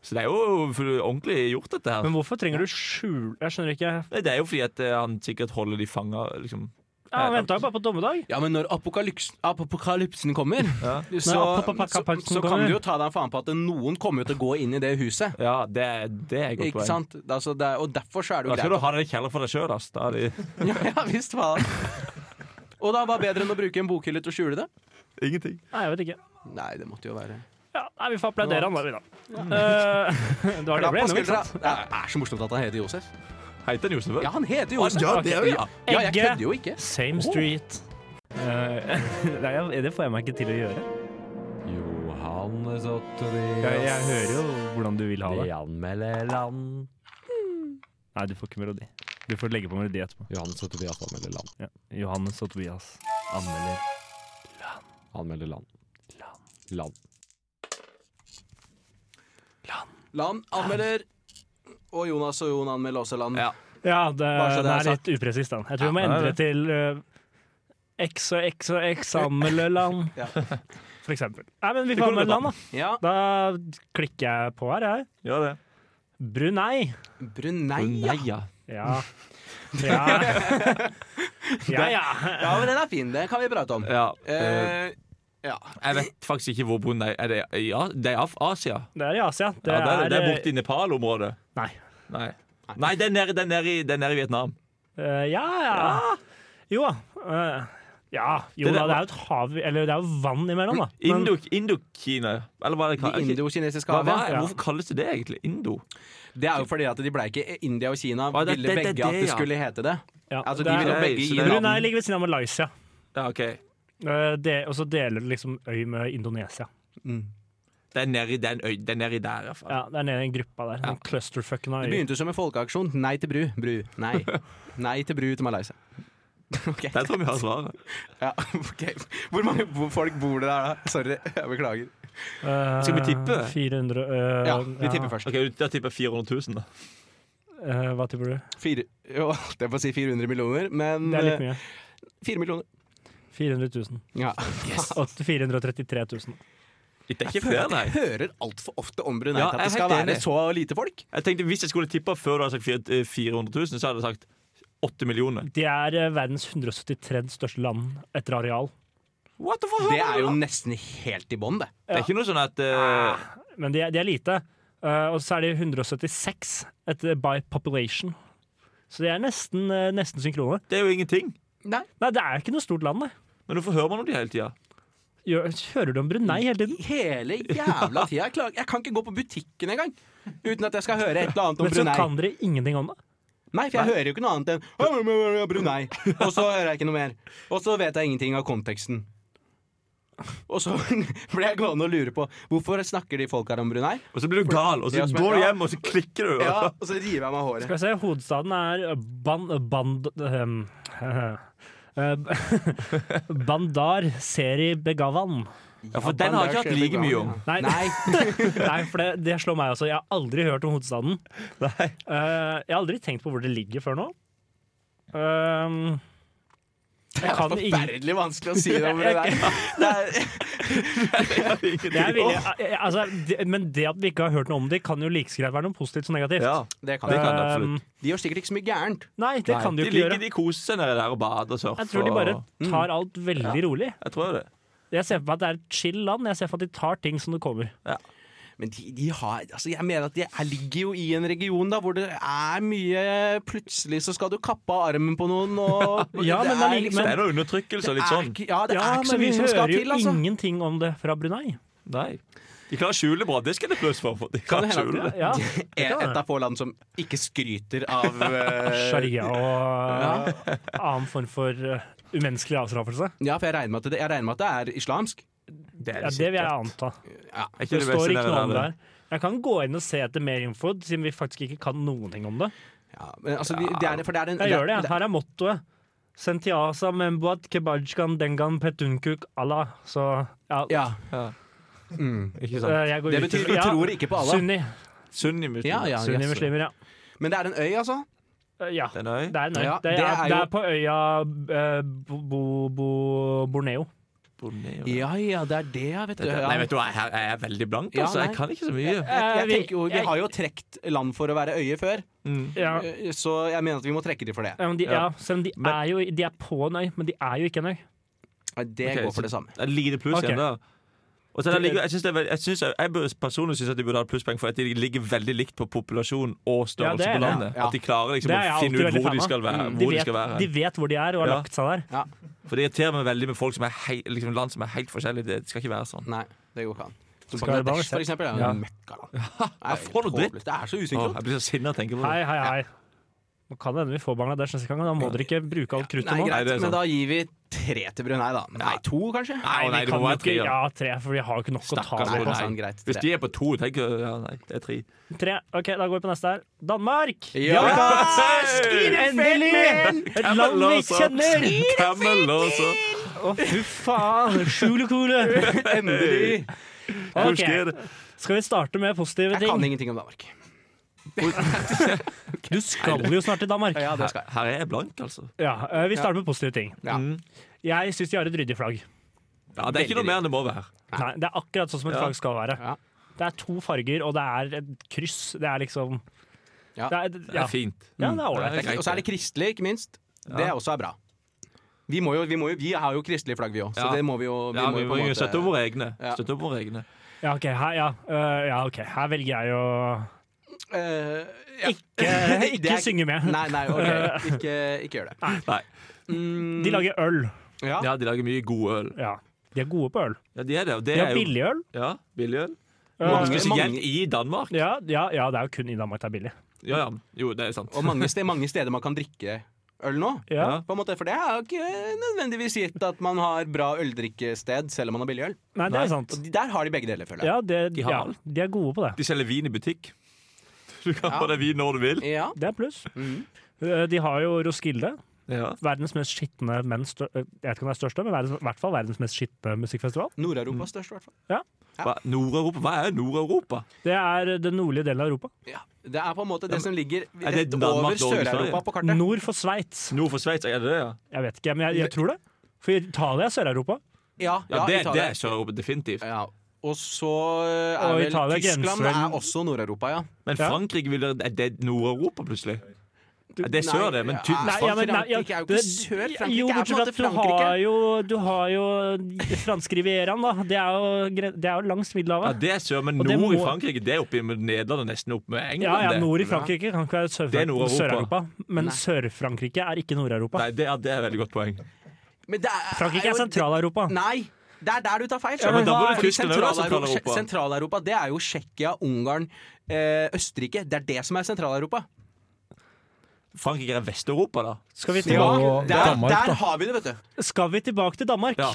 [SPEAKER 6] Så det er jo ordentlig gjort, dette her.
[SPEAKER 4] Men hvorfor trenger du skjul... Jeg skjønner ikke.
[SPEAKER 6] Nei, Det er jo fordi at eh, han sikkert holder de fanga liksom.
[SPEAKER 4] Ja, Han venta jo bare på dommedag.
[SPEAKER 5] Ja, men når apokalypsen, apokalypsen kommer,
[SPEAKER 6] Ja.
[SPEAKER 5] så, så,
[SPEAKER 4] apokalypsen
[SPEAKER 5] så kan
[SPEAKER 4] kommer.
[SPEAKER 5] du jo ta deg en faen på at noen kommer jo til å gå inn i det huset.
[SPEAKER 6] Ja, det, er- det er et godt
[SPEAKER 5] Ikke
[SPEAKER 6] poeng.
[SPEAKER 5] sant? Altså, det, er- og derfor så er det jo
[SPEAKER 6] Da skal
[SPEAKER 5] greit.
[SPEAKER 6] du ha det i kjeller for deg sjøl, ass. Da er de
[SPEAKER 5] Ja, ja visst faen. Og da var det bedre enn å bruke en bokhylle til å skjule det?
[SPEAKER 6] Ingenting.
[SPEAKER 4] Nei, jeg vet ikke.
[SPEAKER 5] Nei, det måtte jo være
[SPEAKER 4] Ja, nei, Vi får applaudere han da, vi, da. Eh, det
[SPEAKER 5] Klapp
[SPEAKER 4] var det vi ble
[SPEAKER 5] på
[SPEAKER 4] enige om, ikke
[SPEAKER 5] skuldra.
[SPEAKER 4] sant?
[SPEAKER 5] Det er så morsomt at han heter Josef.
[SPEAKER 6] Heiter den Josef?
[SPEAKER 5] Ja, han heter Josef.
[SPEAKER 6] Ja, det er jo- ja.
[SPEAKER 5] Ja, jeg kødder jo ikke.
[SPEAKER 4] Same street. Eh, nei, jeg- det får jeg meg ikke til å gjøre.
[SPEAKER 8] Johannes og
[SPEAKER 4] Jeg, jeg
[SPEAKER 8] Tobias.
[SPEAKER 4] hører jo hvordan du vil ha
[SPEAKER 8] De
[SPEAKER 4] det.
[SPEAKER 8] anmelder land.
[SPEAKER 4] Nei, du får ikke melodi. Du får legge på melodi etterpå.
[SPEAKER 8] Johannes og Tobias anmelder land.
[SPEAKER 4] Ja. Johannes og Tobias anmelder
[SPEAKER 8] Anmelder land. Land.
[SPEAKER 5] Land anmelder. Og Jonas og Jon anmelder også land.
[SPEAKER 6] Ja.
[SPEAKER 4] Ja, det,
[SPEAKER 5] Bare så det
[SPEAKER 4] den
[SPEAKER 5] er
[SPEAKER 4] er litt upresist, den. Jeg tror vi må
[SPEAKER 6] Ja, det er
[SPEAKER 4] endre
[SPEAKER 6] det.
[SPEAKER 4] til eh, X og X og X anmelderland,
[SPEAKER 5] Ja.
[SPEAKER 4] for eksempel. Nei, men vi
[SPEAKER 6] Det
[SPEAKER 4] får
[SPEAKER 6] kunne
[SPEAKER 4] anmelde land,
[SPEAKER 5] Ja.
[SPEAKER 4] da. Da klikker jeg på her, jeg.
[SPEAKER 6] Gjør det.
[SPEAKER 4] Brunei.
[SPEAKER 5] Brunei, ja.
[SPEAKER 6] ja.
[SPEAKER 4] Ja. Ja. Ja, ja.
[SPEAKER 5] ja. Men den er fin. Den kan vi prate om.
[SPEAKER 6] ja. eh,
[SPEAKER 5] Eh, ja.
[SPEAKER 6] jeg vet faktisk ikke hvor Brunei er. Det, i A- det er Af- Asia?
[SPEAKER 4] Det er i Asia. Det
[SPEAKER 6] Ja, det, er, det er
[SPEAKER 4] eh,
[SPEAKER 6] borte i Nepal-området.
[SPEAKER 4] Nei.
[SPEAKER 6] Nei. Nei, det er nede, det er nede, i, det er nede i Vietnam.
[SPEAKER 4] Eh, ja, ja. Jo da. Eh, ja, jo
[SPEAKER 6] Det
[SPEAKER 4] da.
[SPEAKER 6] der-
[SPEAKER 4] Det er jo et hav Eller det er jo vann imellom, da. Men-
[SPEAKER 6] Indo- Indokina. Eller hva er det
[SPEAKER 5] De indokinesiske
[SPEAKER 6] hva, hva,
[SPEAKER 5] havet.
[SPEAKER 6] er-
[SPEAKER 4] Ja.
[SPEAKER 6] Hvorfor kalles det det egentlig? Indo?
[SPEAKER 5] Det er jo fordi at de ble ikke India og Kina
[SPEAKER 6] Å, det-
[SPEAKER 5] ville
[SPEAKER 6] det- det-
[SPEAKER 5] begge at
[SPEAKER 6] det,
[SPEAKER 5] det
[SPEAKER 6] ja.
[SPEAKER 5] skulle hete det.
[SPEAKER 4] ja,
[SPEAKER 5] Altså,
[SPEAKER 4] det
[SPEAKER 5] de
[SPEAKER 4] er-
[SPEAKER 5] ville
[SPEAKER 6] Nei,
[SPEAKER 5] begge
[SPEAKER 6] så
[SPEAKER 5] gi
[SPEAKER 6] det er
[SPEAKER 5] navn.
[SPEAKER 4] Brunei ligger ved siden av Malaysia,
[SPEAKER 6] Ja, ok
[SPEAKER 4] Eh, det- og så deler det liksom øy med Indonesia.
[SPEAKER 6] Det er nede i den øy, det er nede i der, i hvert fall.
[SPEAKER 4] Ja, Det er nede i den gruppa der. Den clusterfucken av
[SPEAKER 5] Det
[SPEAKER 4] øyer.
[SPEAKER 5] begynte som en folkeaksjon. Nei til bru. Bru. Nei. Nei til bru til Malaysia. Ok,
[SPEAKER 6] Der tror jeg sånn vi har svaret.
[SPEAKER 5] ja, ok. Hvor mange bo folk bor det der, da? Sorry, jeg beklager.
[SPEAKER 4] Eh,
[SPEAKER 6] Skal vi tippe?
[SPEAKER 4] 400 eh,
[SPEAKER 5] Ja, vi tipper først.
[SPEAKER 6] Ok, du- Jeg tipper 400 000, da.
[SPEAKER 4] Eh, hva tipper du?
[SPEAKER 5] Fire, jo, det er på å si 400 millioner, men
[SPEAKER 4] Det er litt
[SPEAKER 5] eh,
[SPEAKER 4] mye.
[SPEAKER 5] 4 millioner.
[SPEAKER 4] 400 000.
[SPEAKER 5] Ja.
[SPEAKER 4] Og 433 000.
[SPEAKER 6] Det er ikke flere, nei.
[SPEAKER 5] Jeg hører altfor ofte om Brunei
[SPEAKER 6] Ja,
[SPEAKER 5] at
[SPEAKER 6] jeg er
[SPEAKER 5] det skal
[SPEAKER 6] helt
[SPEAKER 5] være
[SPEAKER 6] enig.
[SPEAKER 5] så lite folk.
[SPEAKER 6] Jeg tenkte Hvis jeg skulle tippa før du hadde sagt fire- eh, 400 000, så hadde jeg sagt 8 millioner.
[SPEAKER 4] Det er eh, verdens 173. største land etter areal.
[SPEAKER 6] What the fuck?
[SPEAKER 5] Det er jo Ah. nesten helt i bånn, det.
[SPEAKER 6] Det er ikke noe sånn at eh,
[SPEAKER 4] Men de er, de er lite. Eh, og så er de 176 etter by population. Så de er nesten, eh, nesten synkrone.
[SPEAKER 6] Det er jo ingenting.
[SPEAKER 4] Nei, det er ikke noe stort land, det.
[SPEAKER 6] Men hvorfor hører man om de hele tida?
[SPEAKER 4] Gjør, hører du om Brunei hele tiden?
[SPEAKER 5] Hele jævla tida. Jeg, klager. jeg kan ikke gå på butikken engang uten at jeg skal høre et eller annet om
[SPEAKER 4] Men så
[SPEAKER 5] Brunei.
[SPEAKER 4] kan dere ingenting om det.
[SPEAKER 5] Nei, for jeg hører jo ikke noe annet enn Brunei. Og så hører jeg ikke noe mer. Og så vet jeg ingenting av konteksten. Og så blir jeg gående og lure på hvorfor snakker de folk her om Brunei.
[SPEAKER 6] Og så blir du gal, og så
[SPEAKER 5] Ja, som er
[SPEAKER 6] går du
[SPEAKER 5] gal.
[SPEAKER 6] hjem, og så klikker du.
[SPEAKER 5] Ja, Og så river jeg meg av
[SPEAKER 4] Skal
[SPEAKER 5] håret.
[SPEAKER 4] vi se, hovedstaden er Ban... Band... ehm, eh, Bandar Seri Begawan.
[SPEAKER 6] Ja, for den har jeg ikke hatt like mye om.
[SPEAKER 4] Nei,
[SPEAKER 5] Nei.
[SPEAKER 4] nei for det, det slår meg også. Jeg har aldri hørt om hovedstaden.
[SPEAKER 6] Nei.
[SPEAKER 4] Eh, jeg har aldri tenkt på hvor det ligger før nå. Ehm,
[SPEAKER 5] Det er
[SPEAKER 4] jeg kan ingen
[SPEAKER 5] forferdelig vanskelig å si det om Brunei. Det er,
[SPEAKER 4] det er villig, eh, altså, det, Men det at vi ikke har hørt noe om det, kan jo like så greit være noe positivt som negativt.
[SPEAKER 6] Ja,
[SPEAKER 5] det kan
[SPEAKER 6] det
[SPEAKER 5] jeg.
[SPEAKER 6] kan det absolutt.
[SPEAKER 5] De gjør sikkert ikke så mye gærent.
[SPEAKER 4] Nei, det kan de
[SPEAKER 6] De
[SPEAKER 4] jo ikke
[SPEAKER 6] ligger,
[SPEAKER 4] gjøre.
[SPEAKER 6] de koser seg nede der og bader og surfer.
[SPEAKER 4] Jeg tror de bare
[SPEAKER 6] og-
[SPEAKER 5] Mm.
[SPEAKER 4] tar alt veldig rolig.
[SPEAKER 6] Jeg tror det.
[SPEAKER 4] Jeg ser for meg at det er et chill land. Jeg ser for meg at de tar ting som det kommer.
[SPEAKER 5] Men de, de har, altså jeg mener at de jeg ligger jo i en region da hvor det er mye Plutselig så skal du kappe av armen på noen, og
[SPEAKER 4] Ja, men
[SPEAKER 5] det
[SPEAKER 4] alli-
[SPEAKER 6] Så det er noe undertrykkelse og litt sånn.
[SPEAKER 5] ikke- Ja, det
[SPEAKER 4] Ja,
[SPEAKER 5] er ikke så
[SPEAKER 4] men vi
[SPEAKER 5] mye som skal
[SPEAKER 4] hører jo
[SPEAKER 5] til, altså.
[SPEAKER 4] ingenting om det fra Brunei.
[SPEAKER 6] Nei. De klarer å skjule bra. Det skal de pluss for. for De
[SPEAKER 5] Kan
[SPEAKER 6] klarer
[SPEAKER 5] det
[SPEAKER 6] å
[SPEAKER 5] hende
[SPEAKER 6] skjule
[SPEAKER 5] at
[SPEAKER 6] det.
[SPEAKER 4] Ja, det
[SPEAKER 5] Et
[SPEAKER 4] kan
[SPEAKER 5] et
[SPEAKER 4] være.
[SPEAKER 5] av få land som ikke skryter av eh,
[SPEAKER 4] Sharia og annen form for eh, umenneskelig avstraffelse.
[SPEAKER 5] Ja, for jeg regner, med at det, jeg regner med at det er islamsk.
[SPEAKER 4] Ja, det vil jeg anta.
[SPEAKER 6] Er
[SPEAKER 4] Det
[SPEAKER 6] ikke det
[SPEAKER 4] står
[SPEAKER 6] beste
[SPEAKER 4] ikke noe om det
[SPEAKER 6] der?
[SPEAKER 4] her. Jeg kan gå inn og se etter mer info, siden vi faktisk ikke kan noen ting om det.
[SPEAKER 5] Ja, men altså, de, det er, for det er en
[SPEAKER 4] Jeg gjør det. jeg.
[SPEAKER 5] det-
[SPEAKER 4] Her er mottoet. Sentiasa membuat kebajkan dengan petunkuk Allah. Så ja,
[SPEAKER 5] Ja,
[SPEAKER 6] Mm, Ikke sant?
[SPEAKER 4] eh, jeg går
[SPEAKER 5] det
[SPEAKER 4] ut
[SPEAKER 5] betyr
[SPEAKER 4] ifra-
[SPEAKER 5] du
[SPEAKER 4] ja,
[SPEAKER 5] tror ikke på Allah.
[SPEAKER 4] Sunni.
[SPEAKER 5] Ja,
[SPEAKER 6] Sunnimuslimer.
[SPEAKER 5] ja, yes.
[SPEAKER 4] Sunnimuslimer, ja.
[SPEAKER 5] Men det er en øy, altså.
[SPEAKER 4] Eh, Ja,
[SPEAKER 6] Den øy.
[SPEAKER 4] det er en øy.
[SPEAKER 5] Ja,
[SPEAKER 4] Det
[SPEAKER 5] det
[SPEAKER 4] er,
[SPEAKER 5] er
[SPEAKER 4] det
[SPEAKER 5] jo-
[SPEAKER 4] er på øya eh, bo, bo, bo, Borneo.
[SPEAKER 6] Borneo.
[SPEAKER 5] Ja ja, det er det, ja, vet du.
[SPEAKER 6] Dette-
[SPEAKER 5] Ja.
[SPEAKER 6] Nei, vet du hva, jeg, jeg er veldig blank,
[SPEAKER 5] Ja,
[SPEAKER 6] altså.
[SPEAKER 5] nei.
[SPEAKER 6] Jeg kan ikke så mye.
[SPEAKER 5] Jeg, jeg
[SPEAKER 4] Eh, vi-
[SPEAKER 5] tenker jo, Vi
[SPEAKER 4] jeg-
[SPEAKER 5] har jo trekt land for å være øye før,
[SPEAKER 4] Ja.
[SPEAKER 5] eh, så jeg mener at vi må trekke de for det.
[SPEAKER 4] Ja, men de, ja. selv om de
[SPEAKER 6] Men-
[SPEAKER 4] er jo de er på en øy, men de er jo ikke en øy. Eh,
[SPEAKER 5] Ja, Det
[SPEAKER 6] Ok,
[SPEAKER 5] går for
[SPEAKER 6] så-
[SPEAKER 5] det samme.
[SPEAKER 6] Det er lite pluss
[SPEAKER 4] Ok.
[SPEAKER 6] igjen der. Og så er det likevel- jeg, synes det er, veld- jeg, synes, jeg bør- personlig syns de burde ha et plusspoeng for at de ligger veldig likt på populasjon og
[SPEAKER 4] Ja, det
[SPEAKER 6] størrelse
[SPEAKER 4] er
[SPEAKER 6] på
[SPEAKER 4] det.
[SPEAKER 6] landet.
[SPEAKER 5] Ja.
[SPEAKER 6] At de klarer liksom
[SPEAKER 4] Det er jeg
[SPEAKER 6] å finne
[SPEAKER 4] alltid
[SPEAKER 6] ut
[SPEAKER 4] veldig
[SPEAKER 6] hvor de
[SPEAKER 4] fan av. Mm.
[SPEAKER 6] skal være.
[SPEAKER 4] De
[SPEAKER 6] Hvor de
[SPEAKER 4] vet,
[SPEAKER 6] skal være.
[SPEAKER 4] de vet hvor de er og har
[SPEAKER 6] Ja.
[SPEAKER 4] lagt seg der.
[SPEAKER 6] For det irriterer meg veldig med folk som er hei, liksom land som er helt forskjellige. Det skal ikke være sånn.
[SPEAKER 5] Nei, det går ikke an. Som
[SPEAKER 4] Skal
[SPEAKER 5] Bangladesh,
[SPEAKER 4] det bare-
[SPEAKER 5] for eksempel, er jo
[SPEAKER 4] Ja.
[SPEAKER 5] en møkkaland. Det er
[SPEAKER 6] får du
[SPEAKER 5] helt
[SPEAKER 6] dritt?
[SPEAKER 5] håpløst. Det er så
[SPEAKER 6] Åh,
[SPEAKER 5] usikkert. altså.
[SPEAKER 6] jeg blir så sinna av å tenke på det.
[SPEAKER 4] Hei, hei, hei. Nå kan det hende vi får Bangladesh neste gang, og da må dere ikke bruke alt kruttet
[SPEAKER 5] Nei,
[SPEAKER 4] nå.
[SPEAKER 6] Nei,
[SPEAKER 5] greit,
[SPEAKER 6] det er
[SPEAKER 5] men
[SPEAKER 6] sant.
[SPEAKER 5] da gir vi tre til Brunei, da. Nei, to, kanskje?
[SPEAKER 6] Nei,
[SPEAKER 4] vi
[SPEAKER 6] nei, det
[SPEAKER 4] kan
[SPEAKER 6] må være
[SPEAKER 4] nok-
[SPEAKER 6] tre. Ja.
[SPEAKER 4] Ja, tre, for vi har jo ikke nok å ta
[SPEAKER 5] Nei,
[SPEAKER 4] på.
[SPEAKER 5] det er sant, Sånn, greit.
[SPEAKER 6] Hvis
[SPEAKER 5] Tre.
[SPEAKER 6] de er på to, tenker jeg ja, nei, det er tre.
[SPEAKER 4] Tre. OK, da går vi på neste her. Danmark!
[SPEAKER 5] Ja!
[SPEAKER 4] Endelig! Et land vi
[SPEAKER 6] Camelot,
[SPEAKER 4] kjenner!
[SPEAKER 6] Camelot, så.
[SPEAKER 4] Å, fy faen! Skjulekole!
[SPEAKER 5] Endelig!
[SPEAKER 6] Hvor
[SPEAKER 4] Ok,
[SPEAKER 6] skal det?
[SPEAKER 4] Skal vi starte med positive
[SPEAKER 5] Jeg kan
[SPEAKER 4] ting?
[SPEAKER 5] ingenting om Danmark.
[SPEAKER 4] Du skal jo snart til Danmark.
[SPEAKER 5] Ja, det skal
[SPEAKER 6] Her,
[SPEAKER 5] jeg.
[SPEAKER 6] her er jeg Mm, blank, altså.
[SPEAKER 4] Ja, eh, Vi starter med positive ting.
[SPEAKER 5] Ja.
[SPEAKER 4] Jeg syns de har et ryddig flagg.
[SPEAKER 6] Ja, det er ikke noe mer enn det må være.
[SPEAKER 4] Nei, Det er akkurat sånn som et
[SPEAKER 6] Ja.
[SPEAKER 4] flagg skal være.
[SPEAKER 5] Ja.
[SPEAKER 4] Det er to farger, og det er et kryss. Det er liksom
[SPEAKER 5] Ja.
[SPEAKER 4] Det er,
[SPEAKER 6] Det
[SPEAKER 4] ja.
[SPEAKER 6] er fint.
[SPEAKER 4] ja, det er ålreit.
[SPEAKER 6] Det er greit.
[SPEAKER 5] Og så er det kristelig, ikke minst. Det er også er bra. Vi, må jo, vi, må jo, vi har jo kristelig flagg, vi òg, så
[SPEAKER 6] Ja.
[SPEAKER 5] det må vi jo
[SPEAKER 6] Ja,
[SPEAKER 5] jo
[SPEAKER 6] vi
[SPEAKER 5] på
[SPEAKER 6] må
[SPEAKER 5] en
[SPEAKER 6] jo
[SPEAKER 5] måte-
[SPEAKER 6] støtte opp våre egne.
[SPEAKER 5] Ja.
[SPEAKER 6] Støtte opp våre egne.
[SPEAKER 4] Ja, ok, her, ja. øh, ja, ok. Her velger jeg å
[SPEAKER 5] Eh, ja.
[SPEAKER 4] ikke,
[SPEAKER 5] Det er-
[SPEAKER 4] ikke synge med.
[SPEAKER 5] Nei, nei, ok. Ikke, ikke gjør det.
[SPEAKER 6] Nei.
[SPEAKER 5] Mm,
[SPEAKER 4] De lager øl.
[SPEAKER 5] ja.
[SPEAKER 6] Ja, de lager mye god øl.
[SPEAKER 4] Ja. De er gode på øl.
[SPEAKER 6] Ja, de er det. Og det
[SPEAKER 4] De
[SPEAKER 6] er
[SPEAKER 4] har
[SPEAKER 6] jo
[SPEAKER 4] billig øl.
[SPEAKER 6] Ja, billig øl.
[SPEAKER 4] Øh,
[SPEAKER 5] Mange-
[SPEAKER 6] Spesielt
[SPEAKER 5] mange-
[SPEAKER 6] i Danmark.
[SPEAKER 4] ja, ja, ja, det er jo kun i Danmark det er billig.
[SPEAKER 6] Ja, ja. Jo, det er sant.
[SPEAKER 5] Og mange, ste mange steder man kan drikke øl nå.
[SPEAKER 4] Ja.
[SPEAKER 6] Ja.
[SPEAKER 5] På en måte, for det er jo ikke nødvendigvis gitt at man har bra øldrikkested selv om man har billig øl.
[SPEAKER 4] Nei, det
[SPEAKER 6] Nei.
[SPEAKER 4] er sant.
[SPEAKER 5] Og de- Der har de begge deler, føler jeg.
[SPEAKER 4] Ja, det,
[SPEAKER 6] De har
[SPEAKER 4] ja,
[SPEAKER 6] alt.
[SPEAKER 4] de er gode på det.
[SPEAKER 6] De selger vin i butikk. Du kan
[SPEAKER 5] Ja.
[SPEAKER 6] få deg vin når du vil.
[SPEAKER 5] Ja.
[SPEAKER 4] Det er pluss.
[SPEAKER 5] Mhm.
[SPEAKER 4] Øh, De har jo Roskilde.
[SPEAKER 6] Ja.
[SPEAKER 4] Verdens mest skitne, men stør, jeg vet ikke om det er største, men verdens, i hvert fall verdens mest skitne musikkfestival.
[SPEAKER 5] Nord-Europas største, i hvert fall.
[SPEAKER 6] Hva, Nord-Europa? Hva er Nord-Europa?
[SPEAKER 4] Det er den nordlige delen av Europa.
[SPEAKER 5] Ja. Det er på en måte det som ligger
[SPEAKER 6] er det
[SPEAKER 5] rett
[SPEAKER 6] Danmark,
[SPEAKER 5] over
[SPEAKER 6] Norge, Sverige?
[SPEAKER 5] Sør-Europa på kartet.
[SPEAKER 4] Nord for Sveits.
[SPEAKER 6] Nord for Sveits, er det det? Ja,
[SPEAKER 4] Jeg vet ikke, men jeg, jeg tror det. For Italia er Sør-Europa.
[SPEAKER 5] Ja,
[SPEAKER 6] ja,
[SPEAKER 5] ja,
[SPEAKER 6] det, det
[SPEAKER 5] Italia.
[SPEAKER 6] er Sør-Europa, definitivt.
[SPEAKER 5] Ja. Og så eh, er
[SPEAKER 4] Og
[SPEAKER 5] vel
[SPEAKER 4] Italia grenser
[SPEAKER 5] Tyskland
[SPEAKER 4] vel-
[SPEAKER 5] er også Nord-Europa, ja.
[SPEAKER 6] Men
[SPEAKER 4] Ja.
[SPEAKER 6] Frankrike vil, Er det Nord-Europa, plutselig? Ja, det er
[SPEAKER 5] Nei,
[SPEAKER 6] sør, det, men ty
[SPEAKER 5] ja.
[SPEAKER 4] Nei, ja, men, nei, ja,
[SPEAKER 5] Frankrike er jo ikke
[SPEAKER 4] det-
[SPEAKER 5] sør, Frankrike
[SPEAKER 4] jo,
[SPEAKER 5] er på en
[SPEAKER 4] bortsett
[SPEAKER 5] måte
[SPEAKER 4] fra at du Har
[SPEAKER 5] Frankrike.
[SPEAKER 4] jo, du har jo fransk rivieraen, da. Det er jo, gre- det er jo langs
[SPEAKER 6] ja,
[SPEAKER 4] Middelhavet.
[SPEAKER 6] det er sør, men
[SPEAKER 4] Og det
[SPEAKER 6] nord i
[SPEAKER 4] må-
[SPEAKER 6] Frankrike det er oppi med Nederland og nesten opp med England.
[SPEAKER 4] Ja, ja,
[SPEAKER 6] det.
[SPEAKER 4] nord i Frankrike kan ikke være
[SPEAKER 6] Det er
[SPEAKER 4] Sør-Fran-
[SPEAKER 6] Nord-Europa.
[SPEAKER 4] Sør-Europa. Men Sør-Frankrike er ikke Nord-Europa.
[SPEAKER 6] Nei, det, er- det er et veldig godt poeng.
[SPEAKER 5] Men det er,
[SPEAKER 4] Frankrike
[SPEAKER 5] jo-
[SPEAKER 4] er Sentral-Europa.
[SPEAKER 5] Nei, det er der du tar feil.
[SPEAKER 6] Ja, men da
[SPEAKER 5] skjønner du.
[SPEAKER 6] burde
[SPEAKER 5] Fordi
[SPEAKER 6] Tyskland jo være Sentral-Europa.
[SPEAKER 5] Sentral-Europa Sentral-Europa, det er jo Tsjekkia, Ungarn, eh, Østerrike. Det er det som er Sentral-Europa.
[SPEAKER 6] Frankrike er Vest-Europa, da.
[SPEAKER 4] Skal vi,
[SPEAKER 5] Ja,
[SPEAKER 4] tilbake,
[SPEAKER 7] Og
[SPEAKER 5] der,
[SPEAKER 7] Danmark,
[SPEAKER 5] der
[SPEAKER 7] da.
[SPEAKER 5] har vi det, vet du.
[SPEAKER 4] skal vi tilbake til Danmark?
[SPEAKER 6] Ja.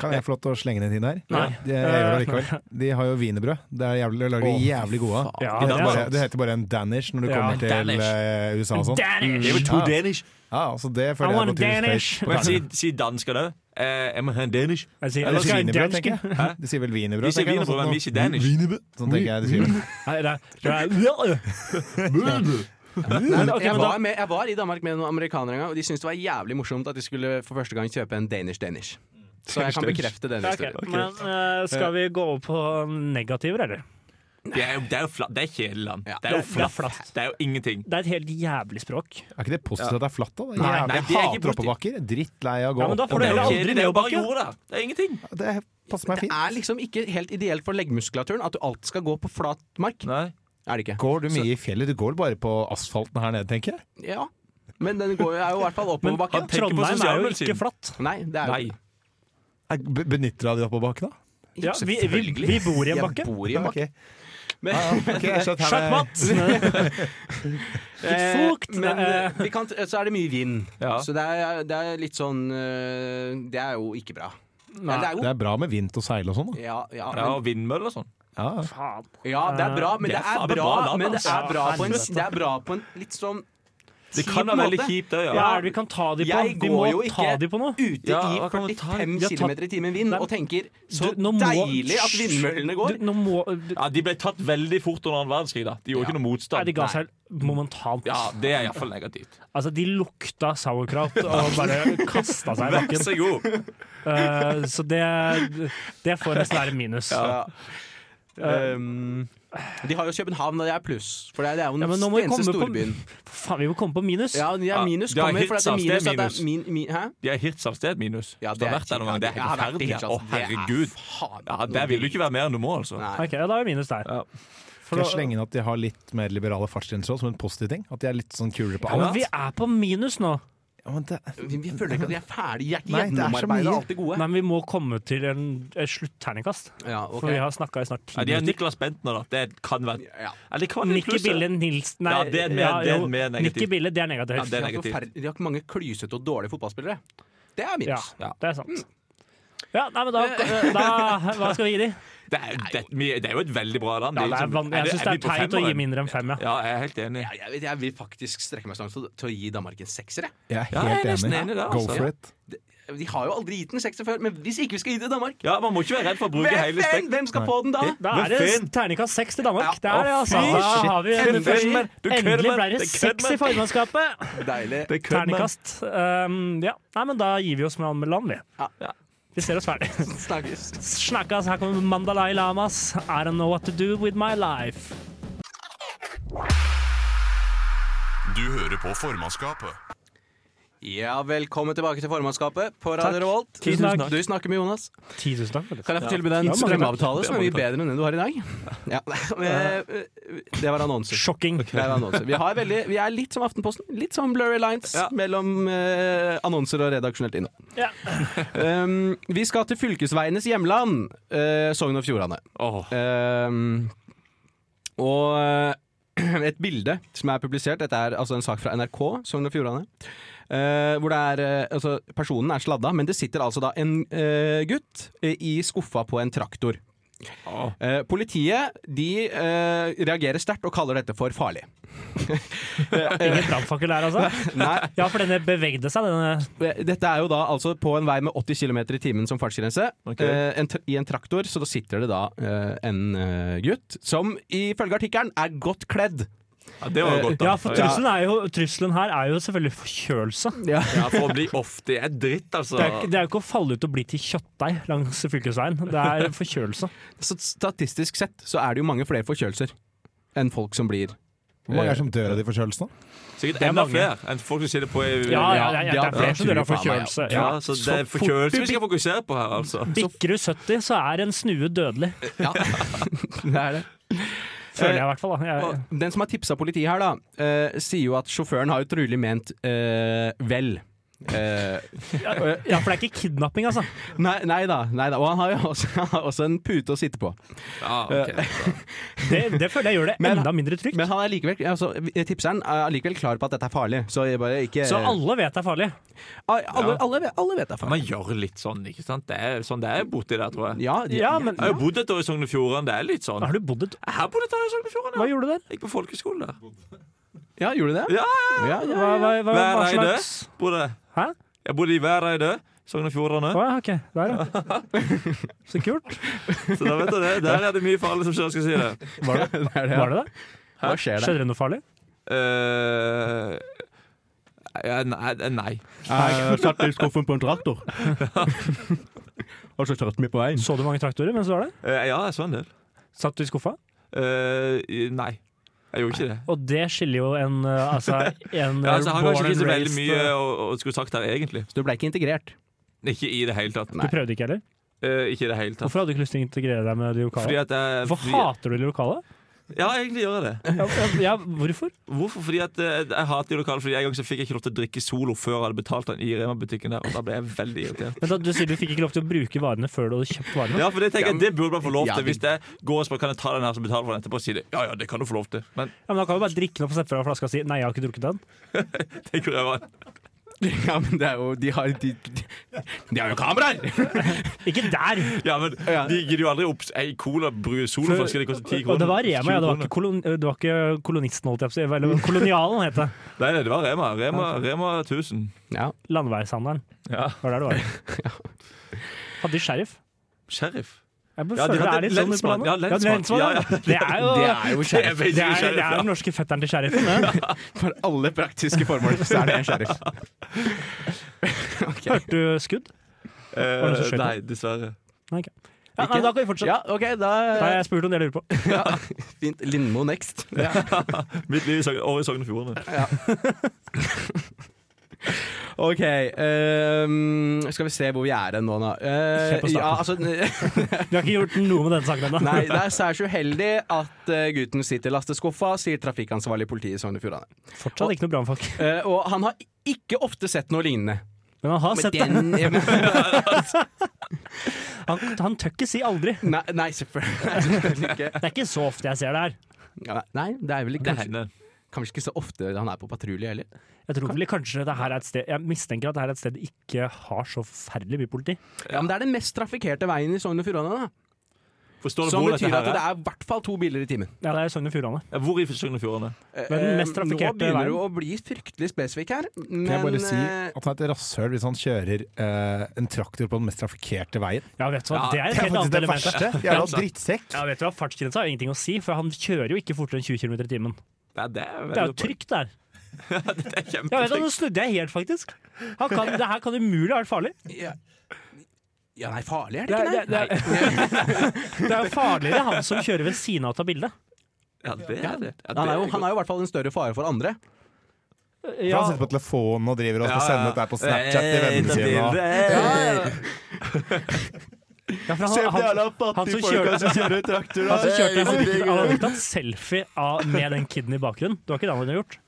[SPEAKER 7] Kan jeg få lov til å slenge ned en ting der?
[SPEAKER 4] Nei.
[SPEAKER 7] De, jeg gjør det allikevel. De har jo wienerbrød. Det er jævlig, lager de jævlig gode. av.
[SPEAKER 4] Ja,
[SPEAKER 7] Det
[SPEAKER 4] det
[SPEAKER 7] heter,
[SPEAKER 4] er
[SPEAKER 7] bare,
[SPEAKER 4] sant.
[SPEAKER 7] det heter bare en danish når du
[SPEAKER 4] Ja,
[SPEAKER 7] kommer til
[SPEAKER 6] Danish.
[SPEAKER 7] eh, USA og sånn.
[SPEAKER 4] Danish!
[SPEAKER 6] Det er vel to
[SPEAKER 7] Ja.
[SPEAKER 6] danish.
[SPEAKER 7] Ja, altså det
[SPEAKER 4] I
[SPEAKER 7] føler jeg
[SPEAKER 4] want
[SPEAKER 7] på Tusenfest.
[SPEAKER 4] Danish.
[SPEAKER 6] Men si, si danskene òg. Eh, jeg må ha en danish.
[SPEAKER 4] Jeg sier,
[SPEAKER 7] Eller
[SPEAKER 4] jeg skal ha en
[SPEAKER 7] wienerbrød,
[SPEAKER 4] dansk.
[SPEAKER 7] tenker jeg. De sier vel wienerbrød?
[SPEAKER 6] De sier
[SPEAKER 7] tenker jeg,
[SPEAKER 6] wienerbrød,
[SPEAKER 7] noe
[SPEAKER 6] men
[SPEAKER 7] sånt
[SPEAKER 6] vi sier danish.
[SPEAKER 7] Wienerbrød. Sånn tenker jeg de sier.
[SPEAKER 4] Nei, det er- det er- Men, ok,
[SPEAKER 5] jeg,
[SPEAKER 4] men da-
[SPEAKER 5] var med, jeg var i Danmark med noen amerikanere en gang, og de syntes det var jævlig morsomt at de skulle for første gang kjøpe en Danish Danish. Så jeg kan bekrefte den
[SPEAKER 4] Ok,
[SPEAKER 5] historien.
[SPEAKER 4] Men eh, skal vi gå over på negativer, eller?
[SPEAKER 6] Det er jo, det er jo flatt. Det er kjedelig land.
[SPEAKER 5] Ja.
[SPEAKER 6] Det er jo
[SPEAKER 4] Det er- det er
[SPEAKER 6] flatt. Det er jo ingenting.
[SPEAKER 4] Det er et helt jævlig språk.
[SPEAKER 7] Er ikke det positivt at det er flatt, da? Det er
[SPEAKER 6] Nei,
[SPEAKER 7] jævlig-
[SPEAKER 6] nei, det er
[SPEAKER 7] jeg
[SPEAKER 6] ikke
[SPEAKER 7] hater oppebakker. Drittlei av å gå
[SPEAKER 4] Ja, men da
[SPEAKER 7] opp
[SPEAKER 4] får
[SPEAKER 7] og ned.
[SPEAKER 4] du
[SPEAKER 6] Det er jo
[SPEAKER 4] heller aldri
[SPEAKER 6] kjedelig. Det er jo bare
[SPEAKER 4] nedobakke.
[SPEAKER 6] jorda. Det er ingenting.
[SPEAKER 7] Det passer meg
[SPEAKER 5] Det
[SPEAKER 7] fint.
[SPEAKER 5] er liksom ikke helt ideelt for leggmuskulaturen at du alltid skal gå på flat mark.
[SPEAKER 6] Nei.
[SPEAKER 5] Er det ikke?
[SPEAKER 7] Går du mye i fjellet? Du går bare på asfalten her nede, tenker jeg.
[SPEAKER 5] Ja. Men den går, er jo i hvert fall
[SPEAKER 4] Men
[SPEAKER 5] oppoverbakke.
[SPEAKER 6] tenker på
[SPEAKER 4] Trondheim er jo
[SPEAKER 6] sosialmedisin.
[SPEAKER 4] ikke flatt.
[SPEAKER 5] Nei, det er jo
[SPEAKER 6] Nei.
[SPEAKER 5] ikke det.
[SPEAKER 7] Jeg be- Benytter av de oppoverbakkene?
[SPEAKER 4] Ja, vi, vi, vi bor i en bakke.
[SPEAKER 5] Jeg bor i en bakke.
[SPEAKER 7] Ok. Ja, ja, ok, jeg skjønner her er-
[SPEAKER 4] Sjakkmatt!
[SPEAKER 5] Eh,
[SPEAKER 4] Fukt!
[SPEAKER 5] men
[SPEAKER 4] Nei.
[SPEAKER 5] eh, vi kan, så er det mye vind.
[SPEAKER 6] Ja.
[SPEAKER 5] Så det er, det er litt sånn eh, Det er jo ikke bra. Nei. Det er
[SPEAKER 7] Det
[SPEAKER 5] jo
[SPEAKER 7] er bra med vind og seil og sånn, da.
[SPEAKER 5] ja, ja,
[SPEAKER 6] Ja,
[SPEAKER 5] men,
[SPEAKER 6] og vindmøller og sånn.
[SPEAKER 7] Ja.
[SPEAKER 4] Faen.
[SPEAKER 5] ja, det er bra, men
[SPEAKER 6] Det
[SPEAKER 5] det
[SPEAKER 6] er
[SPEAKER 5] er
[SPEAKER 6] faen meg
[SPEAKER 5] bra,
[SPEAKER 6] bra land,
[SPEAKER 5] men det
[SPEAKER 6] altså.
[SPEAKER 5] er bra på en,
[SPEAKER 4] Helvete.
[SPEAKER 5] det er bra på en litt sånn
[SPEAKER 6] Det
[SPEAKER 5] Kjip
[SPEAKER 6] kan være veldig
[SPEAKER 5] måte.
[SPEAKER 6] kjipt òg,
[SPEAKER 4] Hva
[SPEAKER 6] ja.
[SPEAKER 4] er det vi kan ta de på?
[SPEAKER 5] Jeg
[SPEAKER 4] Vi
[SPEAKER 5] går
[SPEAKER 4] må
[SPEAKER 5] jo
[SPEAKER 4] ta
[SPEAKER 5] ikke
[SPEAKER 4] de på noe.
[SPEAKER 5] ute
[SPEAKER 6] Ja, hva
[SPEAKER 5] i
[SPEAKER 6] kan man ta?
[SPEAKER 5] 45
[SPEAKER 4] Vi har tatt-
[SPEAKER 5] km i timen vind
[SPEAKER 4] Nei,
[SPEAKER 5] og tenker så
[SPEAKER 4] Du, nå må-
[SPEAKER 5] deilig at vindmøllene går.
[SPEAKER 4] Du, nå må du,
[SPEAKER 6] ja. De ble tatt veldig fort under annen verdenskrig, da. De gjorde ikke noe
[SPEAKER 4] Nei,
[SPEAKER 6] motstand.
[SPEAKER 4] de ga seg momentant.
[SPEAKER 6] Ja, det er iallfall negativt.
[SPEAKER 4] Altså, de lukta sauerkraut og bare kasta seg i
[SPEAKER 6] Vær
[SPEAKER 4] bakken.
[SPEAKER 6] så god.
[SPEAKER 4] Eh, så det, det får nesten være minus.
[SPEAKER 5] Ja.
[SPEAKER 4] Ja, eh,
[SPEAKER 5] Um, de har jo København, og det er pluss. For det er- det er jo
[SPEAKER 4] Ja, men
[SPEAKER 5] den
[SPEAKER 4] nå må vi
[SPEAKER 5] eneste
[SPEAKER 4] komme på-
[SPEAKER 5] storbyen.
[SPEAKER 4] Faen, vi må komme på minus.
[SPEAKER 5] Ja, de er
[SPEAKER 6] Ja,
[SPEAKER 5] minus
[SPEAKER 6] de har
[SPEAKER 5] kommer, for det er
[SPEAKER 6] Hirtshals, det
[SPEAKER 5] minus
[SPEAKER 6] er
[SPEAKER 5] at det er min, min, Hæ?
[SPEAKER 6] De har Hirtshals, det er et minus.
[SPEAKER 5] Ja,
[SPEAKER 6] Hvis du har vært der noen gang, det er
[SPEAKER 5] Jeg har
[SPEAKER 6] helt
[SPEAKER 5] vært i
[SPEAKER 6] forferdelig. Å,
[SPEAKER 5] Hirtshals. Det er
[SPEAKER 6] herregud.
[SPEAKER 5] faen
[SPEAKER 6] Ja, Der vil du ikke være mer enn du må, altså.
[SPEAKER 5] Nei.
[SPEAKER 4] Ok, ja, da er vi minus der.
[SPEAKER 6] Ja.
[SPEAKER 4] For
[SPEAKER 7] Skal jeg
[SPEAKER 4] da-
[SPEAKER 7] slenge inn at de har litt mer liberale fartsgrenser også, som en positiv ting? At de er litt sånn kulere på
[SPEAKER 4] ja, men
[SPEAKER 7] alt?
[SPEAKER 4] vi er på minus nå.
[SPEAKER 7] Ja, men det,
[SPEAKER 5] Vi, vi føler ikke at vi er ferdige. Vi er ikke
[SPEAKER 7] Nei, det er så
[SPEAKER 5] gjennomarbeidet
[SPEAKER 7] mye.
[SPEAKER 5] alt det gode.
[SPEAKER 4] Nei, men vi må komme til en, et slutterningkast.
[SPEAKER 5] Ja, ok.
[SPEAKER 4] For vi har snakka i snart ti
[SPEAKER 6] Ja, de har
[SPEAKER 4] minutter.
[SPEAKER 6] Niklas Bentner, da. Det kan være
[SPEAKER 5] Ja.
[SPEAKER 6] Eller det kan være
[SPEAKER 4] Nikki
[SPEAKER 6] plusser.
[SPEAKER 4] Bille Nilsen Nei,
[SPEAKER 6] Ja, det er mer- det er
[SPEAKER 4] jo,
[SPEAKER 6] mer negativt.
[SPEAKER 4] Nikki Bille, det er negativt.
[SPEAKER 6] Ja, det er
[SPEAKER 5] De har
[SPEAKER 6] negativt.
[SPEAKER 5] forferd- De har ikke mange klysete og dårlige fotballspillere. Det er
[SPEAKER 4] Ja,
[SPEAKER 5] minus.
[SPEAKER 6] Ja.
[SPEAKER 4] det er sant. Ja, nei, men da, da Hva skal vi gi de?
[SPEAKER 6] Det er, jo- det, vi- det er liksom- jo et veldig bra land.
[SPEAKER 4] Ja,
[SPEAKER 6] jo
[SPEAKER 4] det er
[SPEAKER 6] som-
[SPEAKER 4] van- jeg syns det
[SPEAKER 6] vi
[SPEAKER 4] er
[SPEAKER 6] på
[SPEAKER 4] teit å gi
[SPEAKER 6] femmeren?
[SPEAKER 4] mindre enn fem, ja.
[SPEAKER 6] Ja, jeg er helt enig.
[SPEAKER 5] Ja, jeg, vet, jeg vil faktisk strekke meg så langt til til å gi Danmark en sekser. jeg.
[SPEAKER 7] jeg er
[SPEAKER 6] Ja, jeg er
[SPEAKER 7] helt
[SPEAKER 6] nesten
[SPEAKER 7] enig.
[SPEAKER 6] enig der,
[SPEAKER 7] Go
[SPEAKER 6] altså.
[SPEAKER 7] for it.
[SPEAKER 5] De har jo aldri gitt en sekser før, men hvis ikke vi skal gi det Danmark
[SPEAKER 6] Ja, Man må ikke være redd for å bruke hele
[SPEAKER 5] hvem,
[SPEAKER 6] spekk.
[SPEAKER 5] hvem skal få den da?
[SPEAKER 4] Da
[SPEAKER 6] Men
[SPEAKER 4] er det
[SPEAKER 6] fin.
[SPEAKER 4] terningkast seks til Danmark. Det er det,
[SPEAKER 6] Å,
[SPEAKER 4] altså.
[SPEAKER 6] fy
[SPEAKER 4] Da
[SPEAKER 6] shit.
[SPEAKER 4] har vi
[SPEAKER 6] Kødder
[SPEAKER 4] endelig
[SPEAKER 6] med- du kødder med-
[SPEAKER 4] ble det
[SPEAKER 6] det kødder
[SPEAKER 4] seks i
[SPEAKER 6] med-
[SPEAKER 4] formannskapet.
[SPEAKER 5] Deilig.
[SPEAKER 6] Det kødder man.
[SPEAKER 4] Terningkast. Um, ja. Nei, men da gir vi oss med land, vi.
[SPEAKER 5] Ja.
[SPEAKER 6] Ja.
[SPEAKER 4] Vi ser oss ferdig.
[SPEAKER 5] Snakkes.
[SPEAKER 4] Snakkas, her kommer Mandalai Lamas. I don't know what to do with my life.
[SPEAKER 1] Du hører på formannskapet.
[SPEAKER 5] Ja, velkommen tilbake til formannskapet på Radio Revolt.
[SPEAKER 4] Tusen takk.
[SPEAKER 5] Du snakker med Jonas.
[SPEAKER 4] 10 000 takk. for det.
[SPEAKER 5] Kan jeg få tilby deg
[SPEAKER 4] Ja,
[SPEAKER 5] en
[SPEAKER 4] mange takk.
[SPEAKER 5] strømavtale som er mye bedre enn den du har i dag? Ja. Eh, Det var annonser.
[SPEAKER 4] Sjokking.
[SPEAKER 5] Det er annonser. Vi, har veldig, vi er litt som Aftenposten. Litt som blurry lines
[SPEAKER 6] Ja.
[SPEAKER 5] mellom eh, annonser og redaksjonelt innhold.
[SPEAKER 4] Ja.
[SPEAKER 5] Um, vi skal til fylkesveienes hjemland, eh, Sogn og Fjordane.
[SPEAKER 6] Åh,
[SPEAKER 5] Um, og eh, et bilde som er publisert, dette er altså en sak fra NRK, Sogn og Fjordane. eh, hvor det er eh, altså, Personen er sladda, men det sitter altså da en eh, gutt eh, i skuffa på en traktor. Eh, politiet de eh, reagerer sterkt og kaller dette for farlig.
[SPEAKER 4] Ingen brannfakkel der, altså?
[SPEAKER 5] Nei,
[SPEAKER 4] Ja, for denne bevegde seg, denne
[SPEAKER 5] Dette er jo da altså på en vei med 80 km i timen som fartsgrense.
[SPEAKER 6] Ok.
[SPEAKER 5] Eh, en tr- I en traktor så da sitter det da eh, en eh, gutt som ifølge artikkelen er godt kledd.
[SPEAKER 6] Ja, det var jo godt, da.
[SPEAKER 4] Eh, Ja, for trusselen, er jo, trusselen her er jo selvfølgelig forkjølelse.
[SPEAKER 5] Ja.
[SPEAKER 6] Ja, for å bli off, det er dritt, altså.
[SPEAKER 4] Det er, ikke- det er jo ikke å falle ut og bli til kjøttdeig langs fylkesveien. Det er forkjølelse.
[SPEAKER 5] Så statistisk sett så er det jo mange flere forkjølelser enn folk som blir
[SPEAKER 7] Hvor mange er det som dør av de forkjølelsene?
[SPEAKER 6] Sikkert
[SPEAKER 4] er
[SPEAKER 6] enda
[SPEAKER 4] mange.
[SPEAKER 6] flere enn folk som sitter på i
[SPEAKER 4] Ja, ja, ja, det
[SPEAKER 5] ja,
[SPEAKER 4] er flere som dør av
[SPEAKER 5] fy faen meg, ja.
[SPEAKER 4] forkjølelse.
[SPEAKER 6] Ja,
[SPEAKER 4] Ja.
[SPEAKER 6] så
[SPEAKER 5] Så
[SPEAKER 6] det er
[SPEAKER 5] fort
[SPEAKER 6] forkjølelse vi skal fokusere på her, altså.
[SPEAKER 4] Bikker du 70, så er en snue dødelig.
[SPEAKER 5] eh, Ja, det er det.
[SPEAKER 4] Føler jeg i hvert fall. Da. Jeg,
[SPEAKER 5] Og den som har tipsa politiet her, da, eh, sier jo at sjåføren har jo trolig ment eh, vel. Eh,
[SPEAKER 4] ja, for det er ikke kidnapping, altså.
[SPEAKER 5] nei, nei, da, nei da. Og han har jo også, han har også en pute å sitte på.
[SPEAKER 6] Ja, ok.
[SPEAKER 4] Det, det føler jeg gjør det
[SPEAKER 5] Men-
[SPEAKER 4] enda mindre trygt.
[SPEAKER 5] Men han er likevel, altså, tipseren er allikevel klar på at dette er farlig. Så jeg bare ikke
[SPEAKER 4] Så alle vet det er farlig.
[SPEAKER 5] alle, alle, alle, vet- alle vet det er farlig.
[SPEAKER 6] Man gjør litt sånn, ikke sant? Det er sånn det er borti der, tror jeg.
[SPEAKER 5] Ja, de-
[SPEAKER 4] Ja, men
[SPEAKER 6] Jeg har jo bodd et år i Sogn og Fjordane, det er litt sånn.
[SPEAKER 4] har du bodd et
[SPEAKER 6] Jeg har bodd et år i Sogn og Fjordane,
[SPEAKER 4] Hva
[SPEAKER 6] ja.
[SPEAKER 4] gjorde du der?
[SPEAKER 6] Jeg gikk på folkeskole der.
[SPEAKER 5] ja gjorde du det?
[SPEAKER 6] Ja, ja,
[SPEAKER 5] Ja, ja.
[SPEAKER 4] Hva, hva, hva, hva
[SPEAKER 6] Væreide.
[SPEAKER 4] slags
[SPEAKER 6] ja. Bodde.
[SPEAKER 4] Hæ?
[SPEAKER 6] Jeg bodde i Væreide, Sogn og Fjordane.
[SPEAKER 4] Å ja, OK. Der, ja. Så kult.
[SPEAKER 6] Så da vet du det. Der er det mye farlig som skjer, skal jeg si det.
[SPEAKER 4] Var det
[SPEAKER 5] Det er det, ja.
[SPEAKER 4] var det? det?
[SPEAKER 5] Hva skjer der?
[SPEAKER 4] Skjedde det noe farlig?
[SPEAKER 6] Eh, ja, nei, eh, nei.
[SPEAKER 7] Eh,
[SPEAKER 5] satt i skuffen på en traktor. Og så satt vi på veien.
[SPEAKER 4] Så du mange traktorer mens du var der?
[SPEAKER 6] Eh, ja, jeg så en del.
[SPEAKER 4] Satt du i skuffa?
[SPEAKER 6] Eh, i- nei. Jeg gjorde ikke det.
[SPEAKER 4] Og det skiller jo en eh, Altså, en
[SPEAKER 6] Ja, altså, han har
[SPEAKER 4] born
[SPEAKER 6] kanskje
[SPEAKER 4] and
[SPEAKER 6] ikke så veldig
[SPEAKER 4] raised,
[SPEAKER 6] mye
[SPEAKER 4] eh,
[SPEAKER 6] å, å skulle sagt der, egentlig.
[SPEAKER 5] Så du ble ikke integrert?
[SPEAKER 6] Ikke i det hele tatt.
[SPEAKER 5] Nei.
[SPEAKER 4] Du prøvde ikke heller?
[SPEAKER 6] Eh, ikke i det hele tatt.
[SPEAKER 4] Hvorfor hadde du ikke lyst til å integrere deg med de
[SPEAKER 6] Fordi
[SPEAKER 4] lokale?
[SPEAKER 6] at jeg,
[SPEAKER 4] Hvorfor
[SPEAKER 6] fordi-
[SPEAKER 4] hater du de lokale?
[SPEAKER 6] Ja, egentlig gjør jeg det.
[SPEAKER 4] Ja, ja, hvorfor?
[SPEAKER 6] Hvorfor? Fordi at eh, jeg hater de lokale. Fordi En gang så fikk jeg ikke lov til å drikke Solo før jeg hadde betalt den i Rema-butikken der, og da ble jeg veldig irritert.
[SPEAKER 4] Men da, du sier du fikk ikke lov til å bruke varene før du hadde kjøpt varene.
[SPEAKER 6] Ja, for det tenker jeg, det burde man få lov
[SPEAKER 5] Ja,
[SPEAKER 6] til.
[SPEAKER 5] det-
[SPEAKER 6] Hvis jeg går og spør kan jeg ta den her som betaler for den etterpå, og sier de ja ja, det kan du få lov til. Men
[SPEAKER 4] Ja, men Da kan du bare drikke den opp og sette fra flaska og si 'nei, jeg har ikke drukket den'.
[SPEAKER 6] det kunne jeg bare
[SPEAKER 5] Ja, men det er jo De har, de, de, de har jo kameraer!
[SPEAKER 4] Ikke der!
[SPEAKER 6] Ja, men de gidder jo aldri opp ei cola-brus solflaske, det koster ti kroner.
[SPEAKER 4] Og det var Rema, ja. Det var ikke, kolon, det var ikke kolonisten, holdt jeg på å si. Eller kolonialen, het det.
[SPEAKER 6] Nei, nei, det var Rema. Rema, Rema 1000.
[SPEAKER 5] Ja.
[SPEAKER 4] Landeveishandelen.
[SPEAKER 6] Ja.
[SPEAKER 4] Var der det var. Hadde de sheriff?
[SPEAKER 6] Sheriff.
[SPEAKER 4] Jeg
[SPEAKER 6] Ja, de
[SPEAKER 4] føler det
[SPEAKER 6] hadde
[SPEAKER 4] er litt sånn ute på
[SPEAKER 6] lensmann.
[SPEAKER 4] landet. de
[SPEAKER 6] Ja,
[SPEAKER 4] hadde
[SPEAKER 6] lensmann. Ja, ja.
[SPEAKER 4] Det er jo
[SPEAKER 5] Det er jo
[SPEAKER 6] Det er
[SPEAKER 5] sheriff.
[SPEAKER 6] basically
[SPEAKER 4] det er, det
[SPEAKER 6] sheriff,
[SPEAKER 4] er
[SPEAKER 6] ja.
[SPEAKER 4] den norske fetteren til sheriffen. det.
[SPEAKER 5] For alle praktiske formål så er det en sheriff.
[SPEAKER 4] Hørte du skudd?
[SPEAKER 6] Eh,
[SPEAKER 4] Var det så skjønt?
[SPEAKER 6] nei, dessverre.
[SPEAKER 4] Nei, ikke. Ja, nei, da kan vi fortsette.
[SPEAKER 5] Ja, OK,
[SPEAKER 4] Da har
[SPEAKER 5] da
[SPEAKER 4] jeg spurt om det jeg lurer på.
[SPEAKER 5] Fint. Lindmo next.
[SPEAKER 6] Mitt liv i Sogn- år i Sogn og Fjordane.
[SPEAKER 5] OK. ehm, skal vi se hvor vi er hen nå, da. Eh,
[SPEAKER 4] Se på starten.
[SPEAKER 5] ja, altså,
[SPEAKER 4] Vi har ikke gjort noe med denne saken ennå.
[SPEAKER 5] Nei, det er særs uheldig at eh, gutten sitter i lasteskuffa, sier trafikkansvarlig i politiet i Sogn og Fjordane.
[SPEAKER 4] Fortsatt ikke noe brannfolk.
[SPEAKER 5] Eh, og han har ikke ofte sett noe lignende.
[SPEAKER 4] Men han har
[SPEAKER 5] Men
[SPEAKER 4] sett det.
[SPEAKER 5] den
[SPEAKER 4] Han, han tør ikke si aldri.
[SPEAKER 5] Nei, nei selvfølgelig selvfølgelig ikke.
[SPEAKER 4] Det er ikke så ofte jeg ser det her.
[SPEAKER 5] Ja, Nei, det er vel ikke, kanskje,
[SPEAKER 6] Det hender.
[SPEAKER 5] kanskje ikke så ofte han er på patrulje heller.
[SPEAKER 4] Jeg tror vel kanskje det her er et sted Jeg mistenker at det her er et sted det ikke har så forferdelig mye politi.
[SPEAKER 5] Ja, Men det er den mest trafikkerte veien i Sogn og Fjordane. da.
[SPEAKER 6] Forstår du
[SPEAKER 5] Som
[SPEAKER 6] hvor dette
[SPEAKER 5] betyr
[SPEAKER 6] her
[SPEAKER 5] at det
[SPEAKER 6] er?
[SPEAKER 5] er i hvert fall to biler i timen.
[SPEAKER 4] Ja, det er Sogn og Fjordane.
[SPEAKER 6] Ja, Hvor i Sogn og Fjordane?
[SPEAKER 4] Men den mest
[SPEAKER 5] Eh,
[SPEAKER 4] trafikkerte
[SPEAKER 5] Nå begynner
[SPEAKER 4] veien.
[SPEAKER 5] du å bli fryktelig spesifikk her. Men,
[SPEAKER 7] Kan jeg bare si
[SPEAKER 5] eh,
[SPEAKER 7] at han er et rasshøl hvis han kjører eh, en traktor på den mest trafikkerte veien?
[SPEAKER 4] Ja, vet du hva,
[SPEAKER 6] Ja,
[SPEAKER 4] det er
[SPEAKER 7] Det er
[SPEAKER 4] et helt
[SPEAKER 7] faktisk
[SPEAKER 4] annet
[SPEAKER 7] det
[SPEAKER 4] element.
[SPEAKER 7] verste. Jævla drittsekk.
[SPEAKER 4] Ja, vet du hva, Fartsgrensa har jo ingenting å si, for han kjører jo ikke fortere enn 20 km i timen.
[SPEAKER 6] Ja,
[SPEAKER 4] Det
[SPEAKER 6] det er,
[SPEAKER 4] er jo
[SPEAKER 6] veldig-
[SPEAKER 4] trygt der.
[SPEAKER 6] Det er
[SPEAKER 4] Ja, vet du, hva,
[SPEAKER 6] kjempetrygt.
[SPEAKER 4] Nå snudde jeg helt, faktisk. Han kan, det her kan umulig ha vært farlig.
[SPEAKER 5] ja. ja, nei, farlig er
[SPEAKER 4] Det
[SPEAKER 5] det
[SPEAKER 4] er,
[SPEAKER 5] ikke,
[SPEAKER 4] det,
[SPEAKER 5] nei.
[SPEAKER 4] er- det, er, det er jo farligere han som kjører ved siden av og tar bilde.
[SPEAKER 6] Ja, det er det. Ja,
[SPEAKER 5] Han
[SPEAKER 6] det
[SPEAKER 5] er jo,
[SPEAKER 6] godt.
[SPEAKER 5] han er jo i hvert fall en større fare for andre.
[SPEAKER 7] For
[SPEAKER 4] Ja,
[SPEAKER 7] han sitter på telefonen og driver og skal
[SPEAKER 6] Ja, ja.
[SPEAKER 7] sende dette her på Snapchat til
[SPEAKER 6] Hey,
[SPEAKER 7] vennene
[SPEAKER 6] ta
[SPEAKER 7] sine. og-
[SPEAKER 6] bilde, hey.
[SPEAKER 5] Eh,
[SPEAKER 4] ja, for han, han, han som kjørte Han som kjørte Han hadde ikke tatt selfie av, med den kiden i bakgrunnen. Det var ikke det han hadde gjort.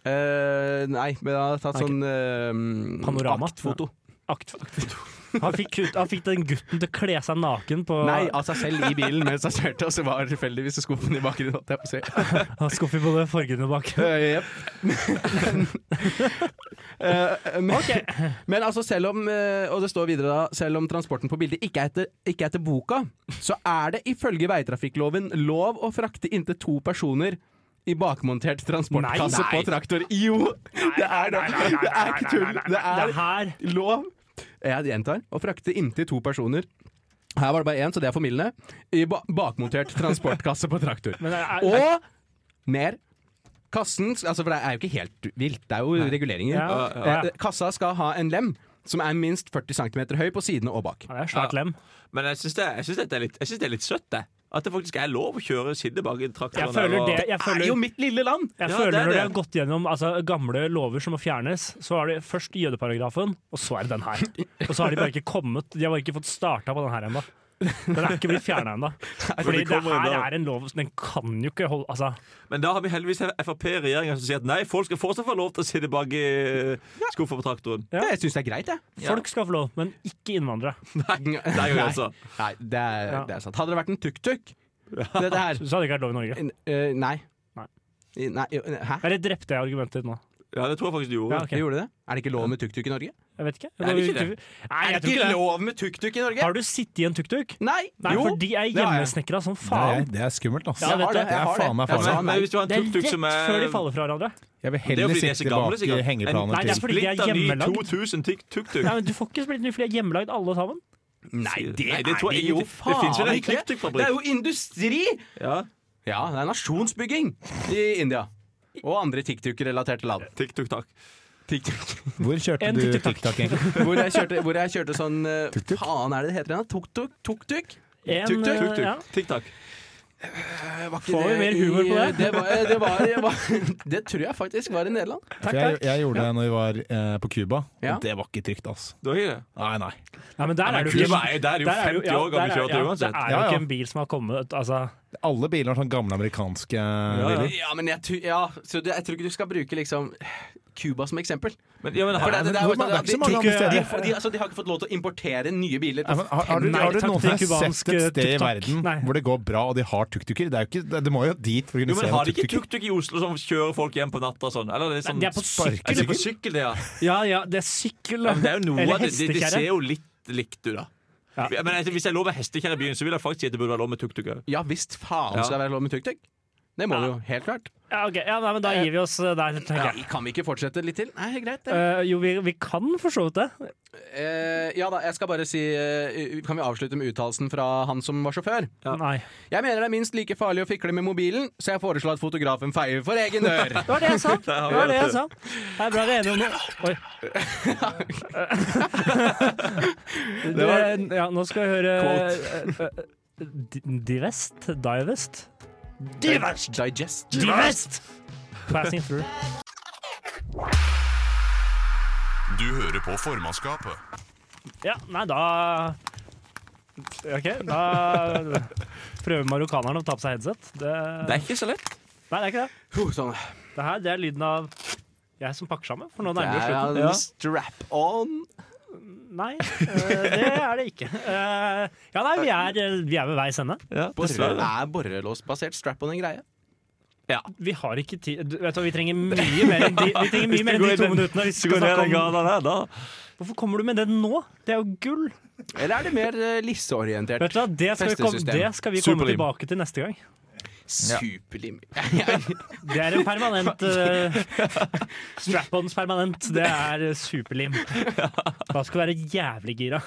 [SPEAKER 5] Eh, nei, men han har tatt
[SPEAKER 4] Nei, ikke-
[SPEAKER 5] sånn eh,
[SPEAKER 4] Panorama.
[SPEAKER 5] aktfoto.
[SPEAKER 4] Akt, Han, fikk, ut- han fikk den gutten til å kle seg naken på
[SPEAKER 5] Nei, av seg selv i bilen mens han kjørte, og så var tilfeldigvis skuffen i bakgrunnen. holdt Jeg på å si.
[SPEAKER 4] Han skuffer både forgrunnen og bakgrunnen.
[SPEAKER 5] Eh, jep. Eh, men, men altså selv om eh, Og det står videre da Selv om transporten på bildet ikke er etter, ikke er etter boka, så er det ifølge veitrafikkloven lov å frakte inntil to personer i bakmontert transportkasse
[SPEAKER 4] Nei, nei.
[SPEAKER 5] på traktor. Jo! det er det! Det er ikke tull! Det
[SPEAKER 4] Det
[SPEAKER 5] er
[SPEAKER 4] her
[SPEAKER 5] lov Jeg gjentar å frakte inntil to personer. Her var det bare én, så det er formildende. I ba bakmontert transportkasse på traktor.
[SPEAKER 4] Men det er,
[SPEAKER 5] Og mer. Kassen altså For det er jo ikke helt vilt, det er jo reguleringer.
[SPEAKER 4] Ja, ja.
[SPEAKER 5] Eh, Kassa skal ha en lem som er minst 40 cm høy på sidene og bak.
[SPEAKER 4] Ja, det er svært lem.
[SPEAKER 6] Men jeg syns det, jeg synes dette er litt- jeg synes det er litt søtt, det. At det faktisk er lov å køre sinne bak i traktoren.
[SPEAKER 4] Jeg føler
[SPEAKER 6] og-
[SPEAKER 4] det Jeg
[SPEAKER 5] Det er
[SPEAKER 4] føler
[SPEAKER 5] jo mitt lille land!
[SPEAKER 4] Jeg
[SPEAKER 6] Ja,
[SPEAKER 4] føler
[SPEAKER 6] det er
[SPEAKER 4] Når de
[SPEAKER 6] det.
[SPEAKER 4] har gått gjennom altså, gamle lover som må fjernes, så er det først jødeparagrafen, og så er det den her. Og så har de bare ikke kommet De har bare ikke fått starta på den her ennå. Den er ikke blitt fjerna ennå. Fordi det
[SPEAKER 6] kommer
[SPEAKER 4] her
[SPEAKER 6] ennå.
[SPEAKER 4] er en lov som den kan jo ikke holde Altså,
[SPEAKER 6] Men da har vi heldigvis Frp-regjeringa som sier at nei, folk skal fortsatt få lov til å sitte bak i skuffa på traktoren.
[SPEAKER 4] Ja.
[SPEAKER 5] Jeg syns det er greit, jeg.
[SPEAKER 4] folk skal få lov, men ikke innvandrere.
[SPEAKER 6] Nei, det er jo altså
[SPEAKER 5] Nei, det er,
[SPEAKER 4] Ja.
[SPEAKER 5] det er sant. Hadde det vært en tuk-tuk, dette her
[SPEAKER 4] Så hadde det ikke vært lov i Norge.
[SPEAKER 5] Eh, Nei.
[SPEAKER 4] Nei.
[SPEAKER 5] I- Nei jo, Hæ?
[SPEAKER 4] Eller drepte jeg argumentet ditt nå?
[SPEAKER 6] Ja, det tror jeg faktisk du
[SPEAKER 4] Ja,
[SPEAKER 6] gjorde.
[SPEAKER 4] ok.
[SPEAKER 5] Gjorde det? Er det ikke lov med tuk-tuk i Norge?
[SPEAKER 4] Jeg vet ikke.
[SPEAKER 6] Er det ikke det?
[SPEAKER 4] Nei,
[SPEAKER 5] Er det
[SPEAKER 4] jeg tror
[SPEAKER 5] ikke
[SPEAKER 4] ikke det.
[SPEAKER 5] lov med tuk-tuk i Norge?
[SPEAKER 4] Har du sittet i en tuk-tuk?
[SPEAKER 5] Nei!
[SPEAKER 4] Nei,
[SPEAKER 5] jo!
[SPEAKER 4] for de er
[SPEAKER 5] det har jeg.
[SPEAKER 4] hjemmesnekra som
[SPEAKER 7] Det er,
[SPEAKER 4] faen.
[SPEAKER 7] det er skummelt, altså.
[SPEAKER 4] Ja,
[SPEAKER 5] Jeg har
[SPEAKER 4] vet
[SPEAKER 5] det.
[SPEAKER 4] du.
[SPEAKER 7] Det
[SPEAKER 5] Jeg
[SPEAKER 7] er
[SPEAKER 5] har det.
[SPEAKER 7] faen meg
[SPEAKER 5] Jeg
[SPEAKER 7] farlig.
[SPEAKER 5] sa
[SPEAKER 6] Men, men
[SPEAKER 5] nei.
[SPEAKER 6] Altså, hvis du har en
[SPEAKER 4] Det er
[SPEAKER 6] tuk-tuk som
[SPEAKER 4] rett før
[SPEAKER 6] er
[SPEAKER 4] de faller fra hverandre.
[SPEAKER 7] Jeg vil
[SPEAKER 6] Det er jo
[SPEAKER 7] heller
[SPEAKER 6] fordi de er så
[SPEAKER 7] sitte bak
[SPEAKER 6] gamle,
[SPEAKER 7] i
[SPEAKER 6] sikkert.
[SPEAKER 7] hengeplanen
[SPEAKER 4] Nei, det er
[SPEAKER 7] til
[SPEAKER 4] fordi de er
[SPEAKER 6] Splitter ny
[SPEAKER 4] hjemmelagd.
[SPEAKER 6] 2000 tuk- tuk-tuk.
[SPEAKER 4] Nei, men Du får ikke splitt ny, for de er hjemmelagd alle sammen.
[SPEAKER 5] Nei, det,
[SPEAKER 6] Nei, det
[SPEAKER 5] er
[SPEAKER 6] tror
[SPEAKER 5] det
[SPEAKER 6] jeg
[SPEAKER 5] jo
[SPEAKER 6] ingenting. Det
[SPEAKER 5] faen
[SPEAKER 6] finnes vel en
[SPEAKER 5] ikke!
[SPEAKER 6] tuk-tuk-fabrikk.
[SPEAKER 5] Det er jo industri!
[SPEAKER 6] Ja,
[SPEAKER 5] Ja, det er nasjonsbygging i India. Og andre tuk-tuk-relaterte land.
[SPEAKER 6] tuk-tuk-tak.
[SPEAKER 7] Hvor kjørte
[SPEAKER 4] En
[SPEAKER 7] du
[SPEAKER 4] tikketak.
[SPEAKER 7] TikTok, egentlig?
[SPEAKER 5] Hvor jeg kjørte, hvor jeg kjørte sånn eh, Faen er det det heter igjen? da? Tuk-tuk? Tuk-tuk?
[SPEAKER 4] En,
[SPEAKER 5] Tuk-tuk,
[SPEAKER 4] eh, ja.
[SPEAKER 6] Tuk-tak.
[SPEAKER 5] Eh, var ikke
[SPEAKER 4] Får vi
[SPEAKER 5] det i-
[SPEAKER 4] mer
[SPEAKER 5] eh,
[SPEAKER 4] humor på det?
[SPEAKER 5] Det, var, det, var, det, var, det tror jeg faktisk var i Nederland.
[SPEAKER 7] For Jeg, jeg gjorde det når vi var eh, på Cuba,
[SPEAKER 5] Ja.
[SPEAKER 7] og det var ikke trygt, altså.
[SPEAKER 6] Du har ikke det?
[SPEAKER 7] Nei, nei.
[SPEAKER 4] Nei, men der er du
[SPEAKER 6] Cuba er jo- der er jo 50 år gammel kjøretøy uansett.
[SPEAKER 7] Ja,
[SPEAKER 4] Det er jo
[SPEAKER 7] ja.
[SPEAKER 4] ikke en bil som har kommet altså,
[SPEAKER 7] Alle biler har sånn gamle amerikanske
[SPEAKER 6] ja.
[SPEAKER 7] biler.
[SPEAKER 5] Ja, men jeg, tu- ja, så det, jeg tror ikke du skal bruke liksom Cuba som eksempel.
[SPEAKER 6] Men, ja, men,
[SPEAKER 5] For det, det, det er jo
[SPEAKER 7] hvor
[SPEAKER 5] sånn
[SPEAKER 7] mange- det er ikke så mange
[SPEAKER 5] de- de-
[SPEAKER 7] andre
[SPEAKER 5] de-
[SPEAKER 7] steder.
[SPEAKER 5] de- altså, De har ikke fått lov til å importere nye biler.
[SPEAKER 7] Nei, men har, har, du,
[SPEAKER 4] Nei,
[SPEAKER 7] har du
[SPEAKER 4] takk,
[SPEAKER 7] noensinne
[SPEAKER 4] det er kubansk,
[SPEAKER 7] sett et sted i
[SPEAKER 4] tuk-tok.
[SPEAKER 7] verden
[SPEAKER 4] Nei.
[SPEAKER 7] hvor det går bra og de har tuk-tuker? Det, er jo ikke- det- det må jo dit for å
[SPEAKER 6] jo,
[SPEAKER 7] kunne
[SPEAKER 6] men
[SPEAKER 7] se
[SPEAKER 6] har
[SPEAKER 7] noen
[SPEAKER 6] de ikke
[SPEAKER 7] tuk-tuker.
[SPEAKER 6] tuk-tuk i Oslo som kjører folk hjem på natta og sånn? Eller det er sånn
[SPEAKER 4] De er på
[SPEAKER 7] sparker
[SPEAKER 6] Er det
[SPEAKER 4] sykkel.
[SPEAKER 6] på sykkel, det, ja.
[SPEAKER 4] Ja, ja, det er sykkel.
[SPEAKER 6] Ja, men det er jo noe
[SPEAKER 4] Eller
[SPEAKER 6] av det. Det, det
[SPEAKER 4] hestekjerre.
[SPEAKER 6] ser jo litt likt ut, da.
[SPEAKER 4] Ja.
[SPEAKER 6] Ja. Men altså, Hvis jeg lå med hestekjerre i byen, så vil jeg faktisk si at det burde være lov med tuk-tuk òg.
[SPEAKER 5] Ja visst faen
[SPEAKER 6] Ja.
[SPEAKER 5] skal det være lov med tuk-tuk. Det må
[SPEAKER 4] Ja.
[SPEAKER 5] det jo, helt klart.
[SPEAKER 4] Ja, ok. ja, nei, men da gir vi oss eh, der, tenker jeg.
[SPEAKER 5] Ja, kan vi ikke fortsette litt til? Nei, greit. det.
[SPEAKER 4] Eh, jo, vi, vi kan for så vidt det.
[SPEAKER 5] Eh, ja da, jeg skal bare si eh, Kan vi avslutte med uttalelsen fra han som var sjåfør?
[SPEAKER 6] Ja.
[SPEAKER 4] Nei.
[SPEAKER 5] Jeg mener det er minst like farlig å fikle med mobilen, så jeg foreslår at fotografen feier for egen dør.
[SPEAKER 4] Det var det jeg sa. Det
[SPEAKER 6] har vi
[SPEAKER 4] var det jeg
[SPEAKER 6] det.
[SPEAKER 4] sa. Det er bra vi er enige om noe. Oi. Det var- ja, nå skal jeg høre eh, eh, di- Divest? Divest?
[SPEAKER 5] Diverst! Digest.
[SPEAKER 4] Divest! Passing through.
[SPEAKER 1] Du hører på formannskapet.
[SPEAKER 4] Ja, nei, da OK, da prøver marokkanerne å ta på seg headset. Det,
[SPEAKER 6] Det er ikke så lett.
[SPEAKER 4] Nei, det er ikke det.
[SPEAKER 5] Puh, sånn.
[SPEAKER 4] Det her det er lyden av jeg som pakker sammen, for nå
[SPEAKER 5] Det
[SPEAKER 4] nærmer vi
[SPEAKER 5] er
[SPEAKER 4] slutten.
[SPEAKER 5] en strap-on.
[SPEAKER 4] Nei, eh, det er det ikke. Eh, ja, nei, vi er, eh, vi er ved veis ende.
[SPEAKER 6] Ja,
[SPEAKER 5] Borre,
[SPEAKER 6] dessverre.
[SPEAKER 5] er borrelåsbasert strap-on en greie?
[SPEAKER 4] Vi har ikke tid du, vet du, hva, Vi trenger mye mer enn de, vi trenger mye mer enn de to minuttene. Hvis
[SPEAKER 6] Hvis
[SPEAKER 4] vi
[SPEAKER 6] du går
[SPEAKER 4] skal
[SPEAKER 6] ned den
[SPEAKER 4] snakke om,
[SPEAKER 6] gata der, da
[SPEAKER 4] hvorfor kommer du med den nå? Det er jo gull!
[SPEAKER 5] Eller er det mer eh, lisseorientert?
[SPEAKER 4] Vet du hva, Det skal vi komme,
[SPEAKER 5] Festesystem.
[SPEAKER 4] det skal vi komme
[SPEAKER 6] Superlim.
[SPEAKER 4] tilbake til neste gang.
[SPEAKER 5] Superlim.
[SPEAKER 4] Det er en permanent eh, Strap-ons permanent. Det er eh, superlim. Da skal du være jævlig gira.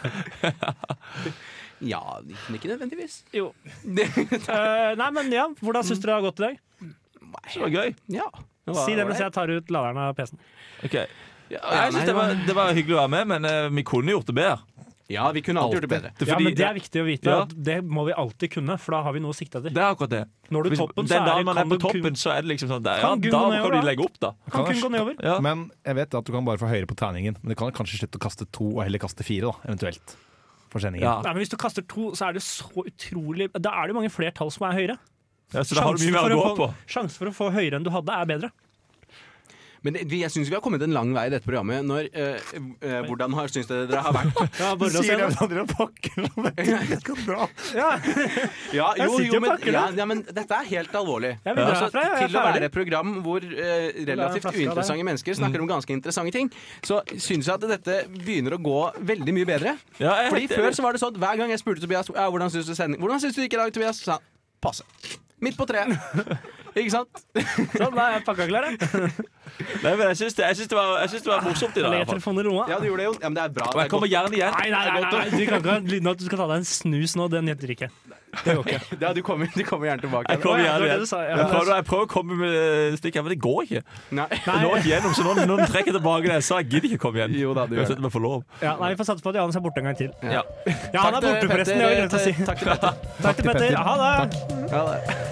[SPEAKER 5] ja, ikke ikke nødvendigvis.
[SPEAKER 4] Jo. Eh, nei, men ja, hvordan syns du det har gått i dag?
[SPEAKER 6] Det var gøy.
[SPEAKER 5] Ja.
[SPEAKER 4] Si det mens jeg tar ut laderen av PC-en.
[SPEAKER 6] Ok. jeg synes det, var, det var hyggelig å være med, men eh, vi kunne gjort det bedre.
[SPEAKER 5] Ja, vi kunne alltid gjort det bedre.
[SPEAKER 6] Det, er
[SPEAKER 4] Ja,
[SPEAKER 6] fordi-
[SPEAKER 4] men Det er viktig å vite.
[SPEAKER 6] Ja.
[SPEAKER 4] at Det må vi alltid kunne, for da har vi noe å sikte etter.
[SPEAKER 6] det er akkurat det.
[SPEAKER 4] Når du
[SPEAKER 6] Hvis,
[SPEAKER 4] er toppen, så
[SPEAKER 6] den
[SPEAKER 4] er
[SPEAKER 6] dagen
[SPEAKER 4] det,
[SPEAKER 6] man
[SPEAKER 4] kan
[SPEAKER 6] er på
[SPEAKER 4] du kun,
[SPEAKER 6] toppen, så er det liksom sånn der, ja,
[SPEAKER 4] Kan
[SPEAKER 6] Da
[SPEAKER 4] Gunnar gjøre
[SPEAKER 6] kan de
[SPEAKER 4] det?
[SPEAKER 6] legge opp, da.
[SPEAKER 4] kan kun gå nedover.
[SPEAKER 6] Ja.
[SPEAKER 7] Men jeg vet at du kan bare få høyere på terningen. Men du kan kanskje slutte å kaste to og heller kaste fire, da, eventuelt. For sendingen.
[SPEAKER 6] Ja.
[SPEAKER 4] Nei, men Hvis du kaster to, så er det så utrolig Da er det jo mange flere tall som er høyere.
[SPEAKER 6] Ja, så da har du mye mer å
[SPEAKER 4] for
[SPEAKER 6] gå
[SPEAKER 4] å få,
[SPEAKER 6] på.
[SPEAKER 4] sjansen for å få høyere enn du hadde, er bedre.
[SPEAKER 5] Men det- vi- jeg syns vi har kommet en lang vei i dette programmet. Når, eh, eh, hvordan har, syns dere dere har vært?
[SPEAKER 4] Ja, bare å se det.
[SPEAKER 7] andre pakker og vet ikke hva jeg skal dra.
[SPEAKER 5] Ja,
[SPEAKER 4] Jeg
[SPEAKER 5] jo,
[SPEAKER 4] sitter
[SPEAKER 5] jo,
[SPEAKER 4] og
[SPEAKER 5] men,
[SPEAKER 4] pakker
[SPEAKER 5] ja, ja, men dette er helt alvorlig.
[SPEAKER 4] Jeg vil dra
[SPEAKER 5] Altså,
[SPEAKER 4] herfra, jeg er
[SPEAKER 5] til å
[SPEAKER 4] ferdig.
[SPEAKER 5] være et program hvor eh, relativt
[SPEAKER 4] flaske av
[SPEAKER 5] uinteressante mennesker
[SPEAKER 4] Mm.
[SPEAKER 5] snakker om ganske interessante ting, så syns jeg at dette begynner å gå veldig mye bedre.
[SPEAKER 6] Ja, jeg er
[SPEAKER 5] Fordi
[SPEAKER 6] helt
[SPEAKER 5] Før
[SPEAKER 6] enig.
[SPEAKER 5] så var det sånn at hver gang jeg spurte Tobias ja, hvordan syns du sending Hvordan syns du det gikk i dag, Tobias, så sa han passe. Midt på treet. Ikke sant?
[SPEAKER 4] Sånn, da er jeg pakka klar, jeg.
[SPEAKER 6] Nei, men jeg syns det, jeg syns det, var- jeg syns det var morsomt i dag. i
[SPEAKER 4] Ler
[SPEAKER 6] hvert fall.
[SPEAKER 4] telefonen i lomma.
[SPEAKER 5] Ja, du gjorde det, Jon. Ja, men det er bra.
[SPEAKER 6] Og jeg kommer gjerne igjen.
[SPEAKER 4] Nei, nei, nei, nei, nei, du kan ikke ha lyden av at du skal ta deg en snus nå. Den nytter ikke. Det går ikke.
[SPEAKER 5] Ja, du kommer, du kommer gjerne tilbake.
[SPEAKER 6] Jeg
[SPEAKER 4] Å, ja,
[SPEAKER 6] kommer
[SPEAKER 4] det
[SPEAKER 6] gjerne
[SPEAKER 4] var det
[SPEAKER 6] igjen.
[SPEAKER 4] du sa, ja.
[SPEAKER 6] Jeg prøver, jeg prøver å komme med stikk her, men det går ikke.
[SPEAKER 5] Nei.
[SPEAKER 6] Det når ikke gjennom, så nå, nå trekker jeg tilbake det jeg sa. Jeg gidder ikke komme igjen.
[SPEAKER 5] Jo da, du gjør
[SPEAKER 6] Uansett om jeg får lov.
[SPEAKER 4] Ja, nei, Vi får satse på at Johannes er borte en gang til.
[SPEAKER 6] Ja.
[SPEAKER 4] Ja, han er borte, forresten. Det har jeg glemt å si.
[SPEAKER 5] Takk til Petter.
[SPEAKER 4] Takk til Petter. Ha det.
[SPEAKER 5] Ha det.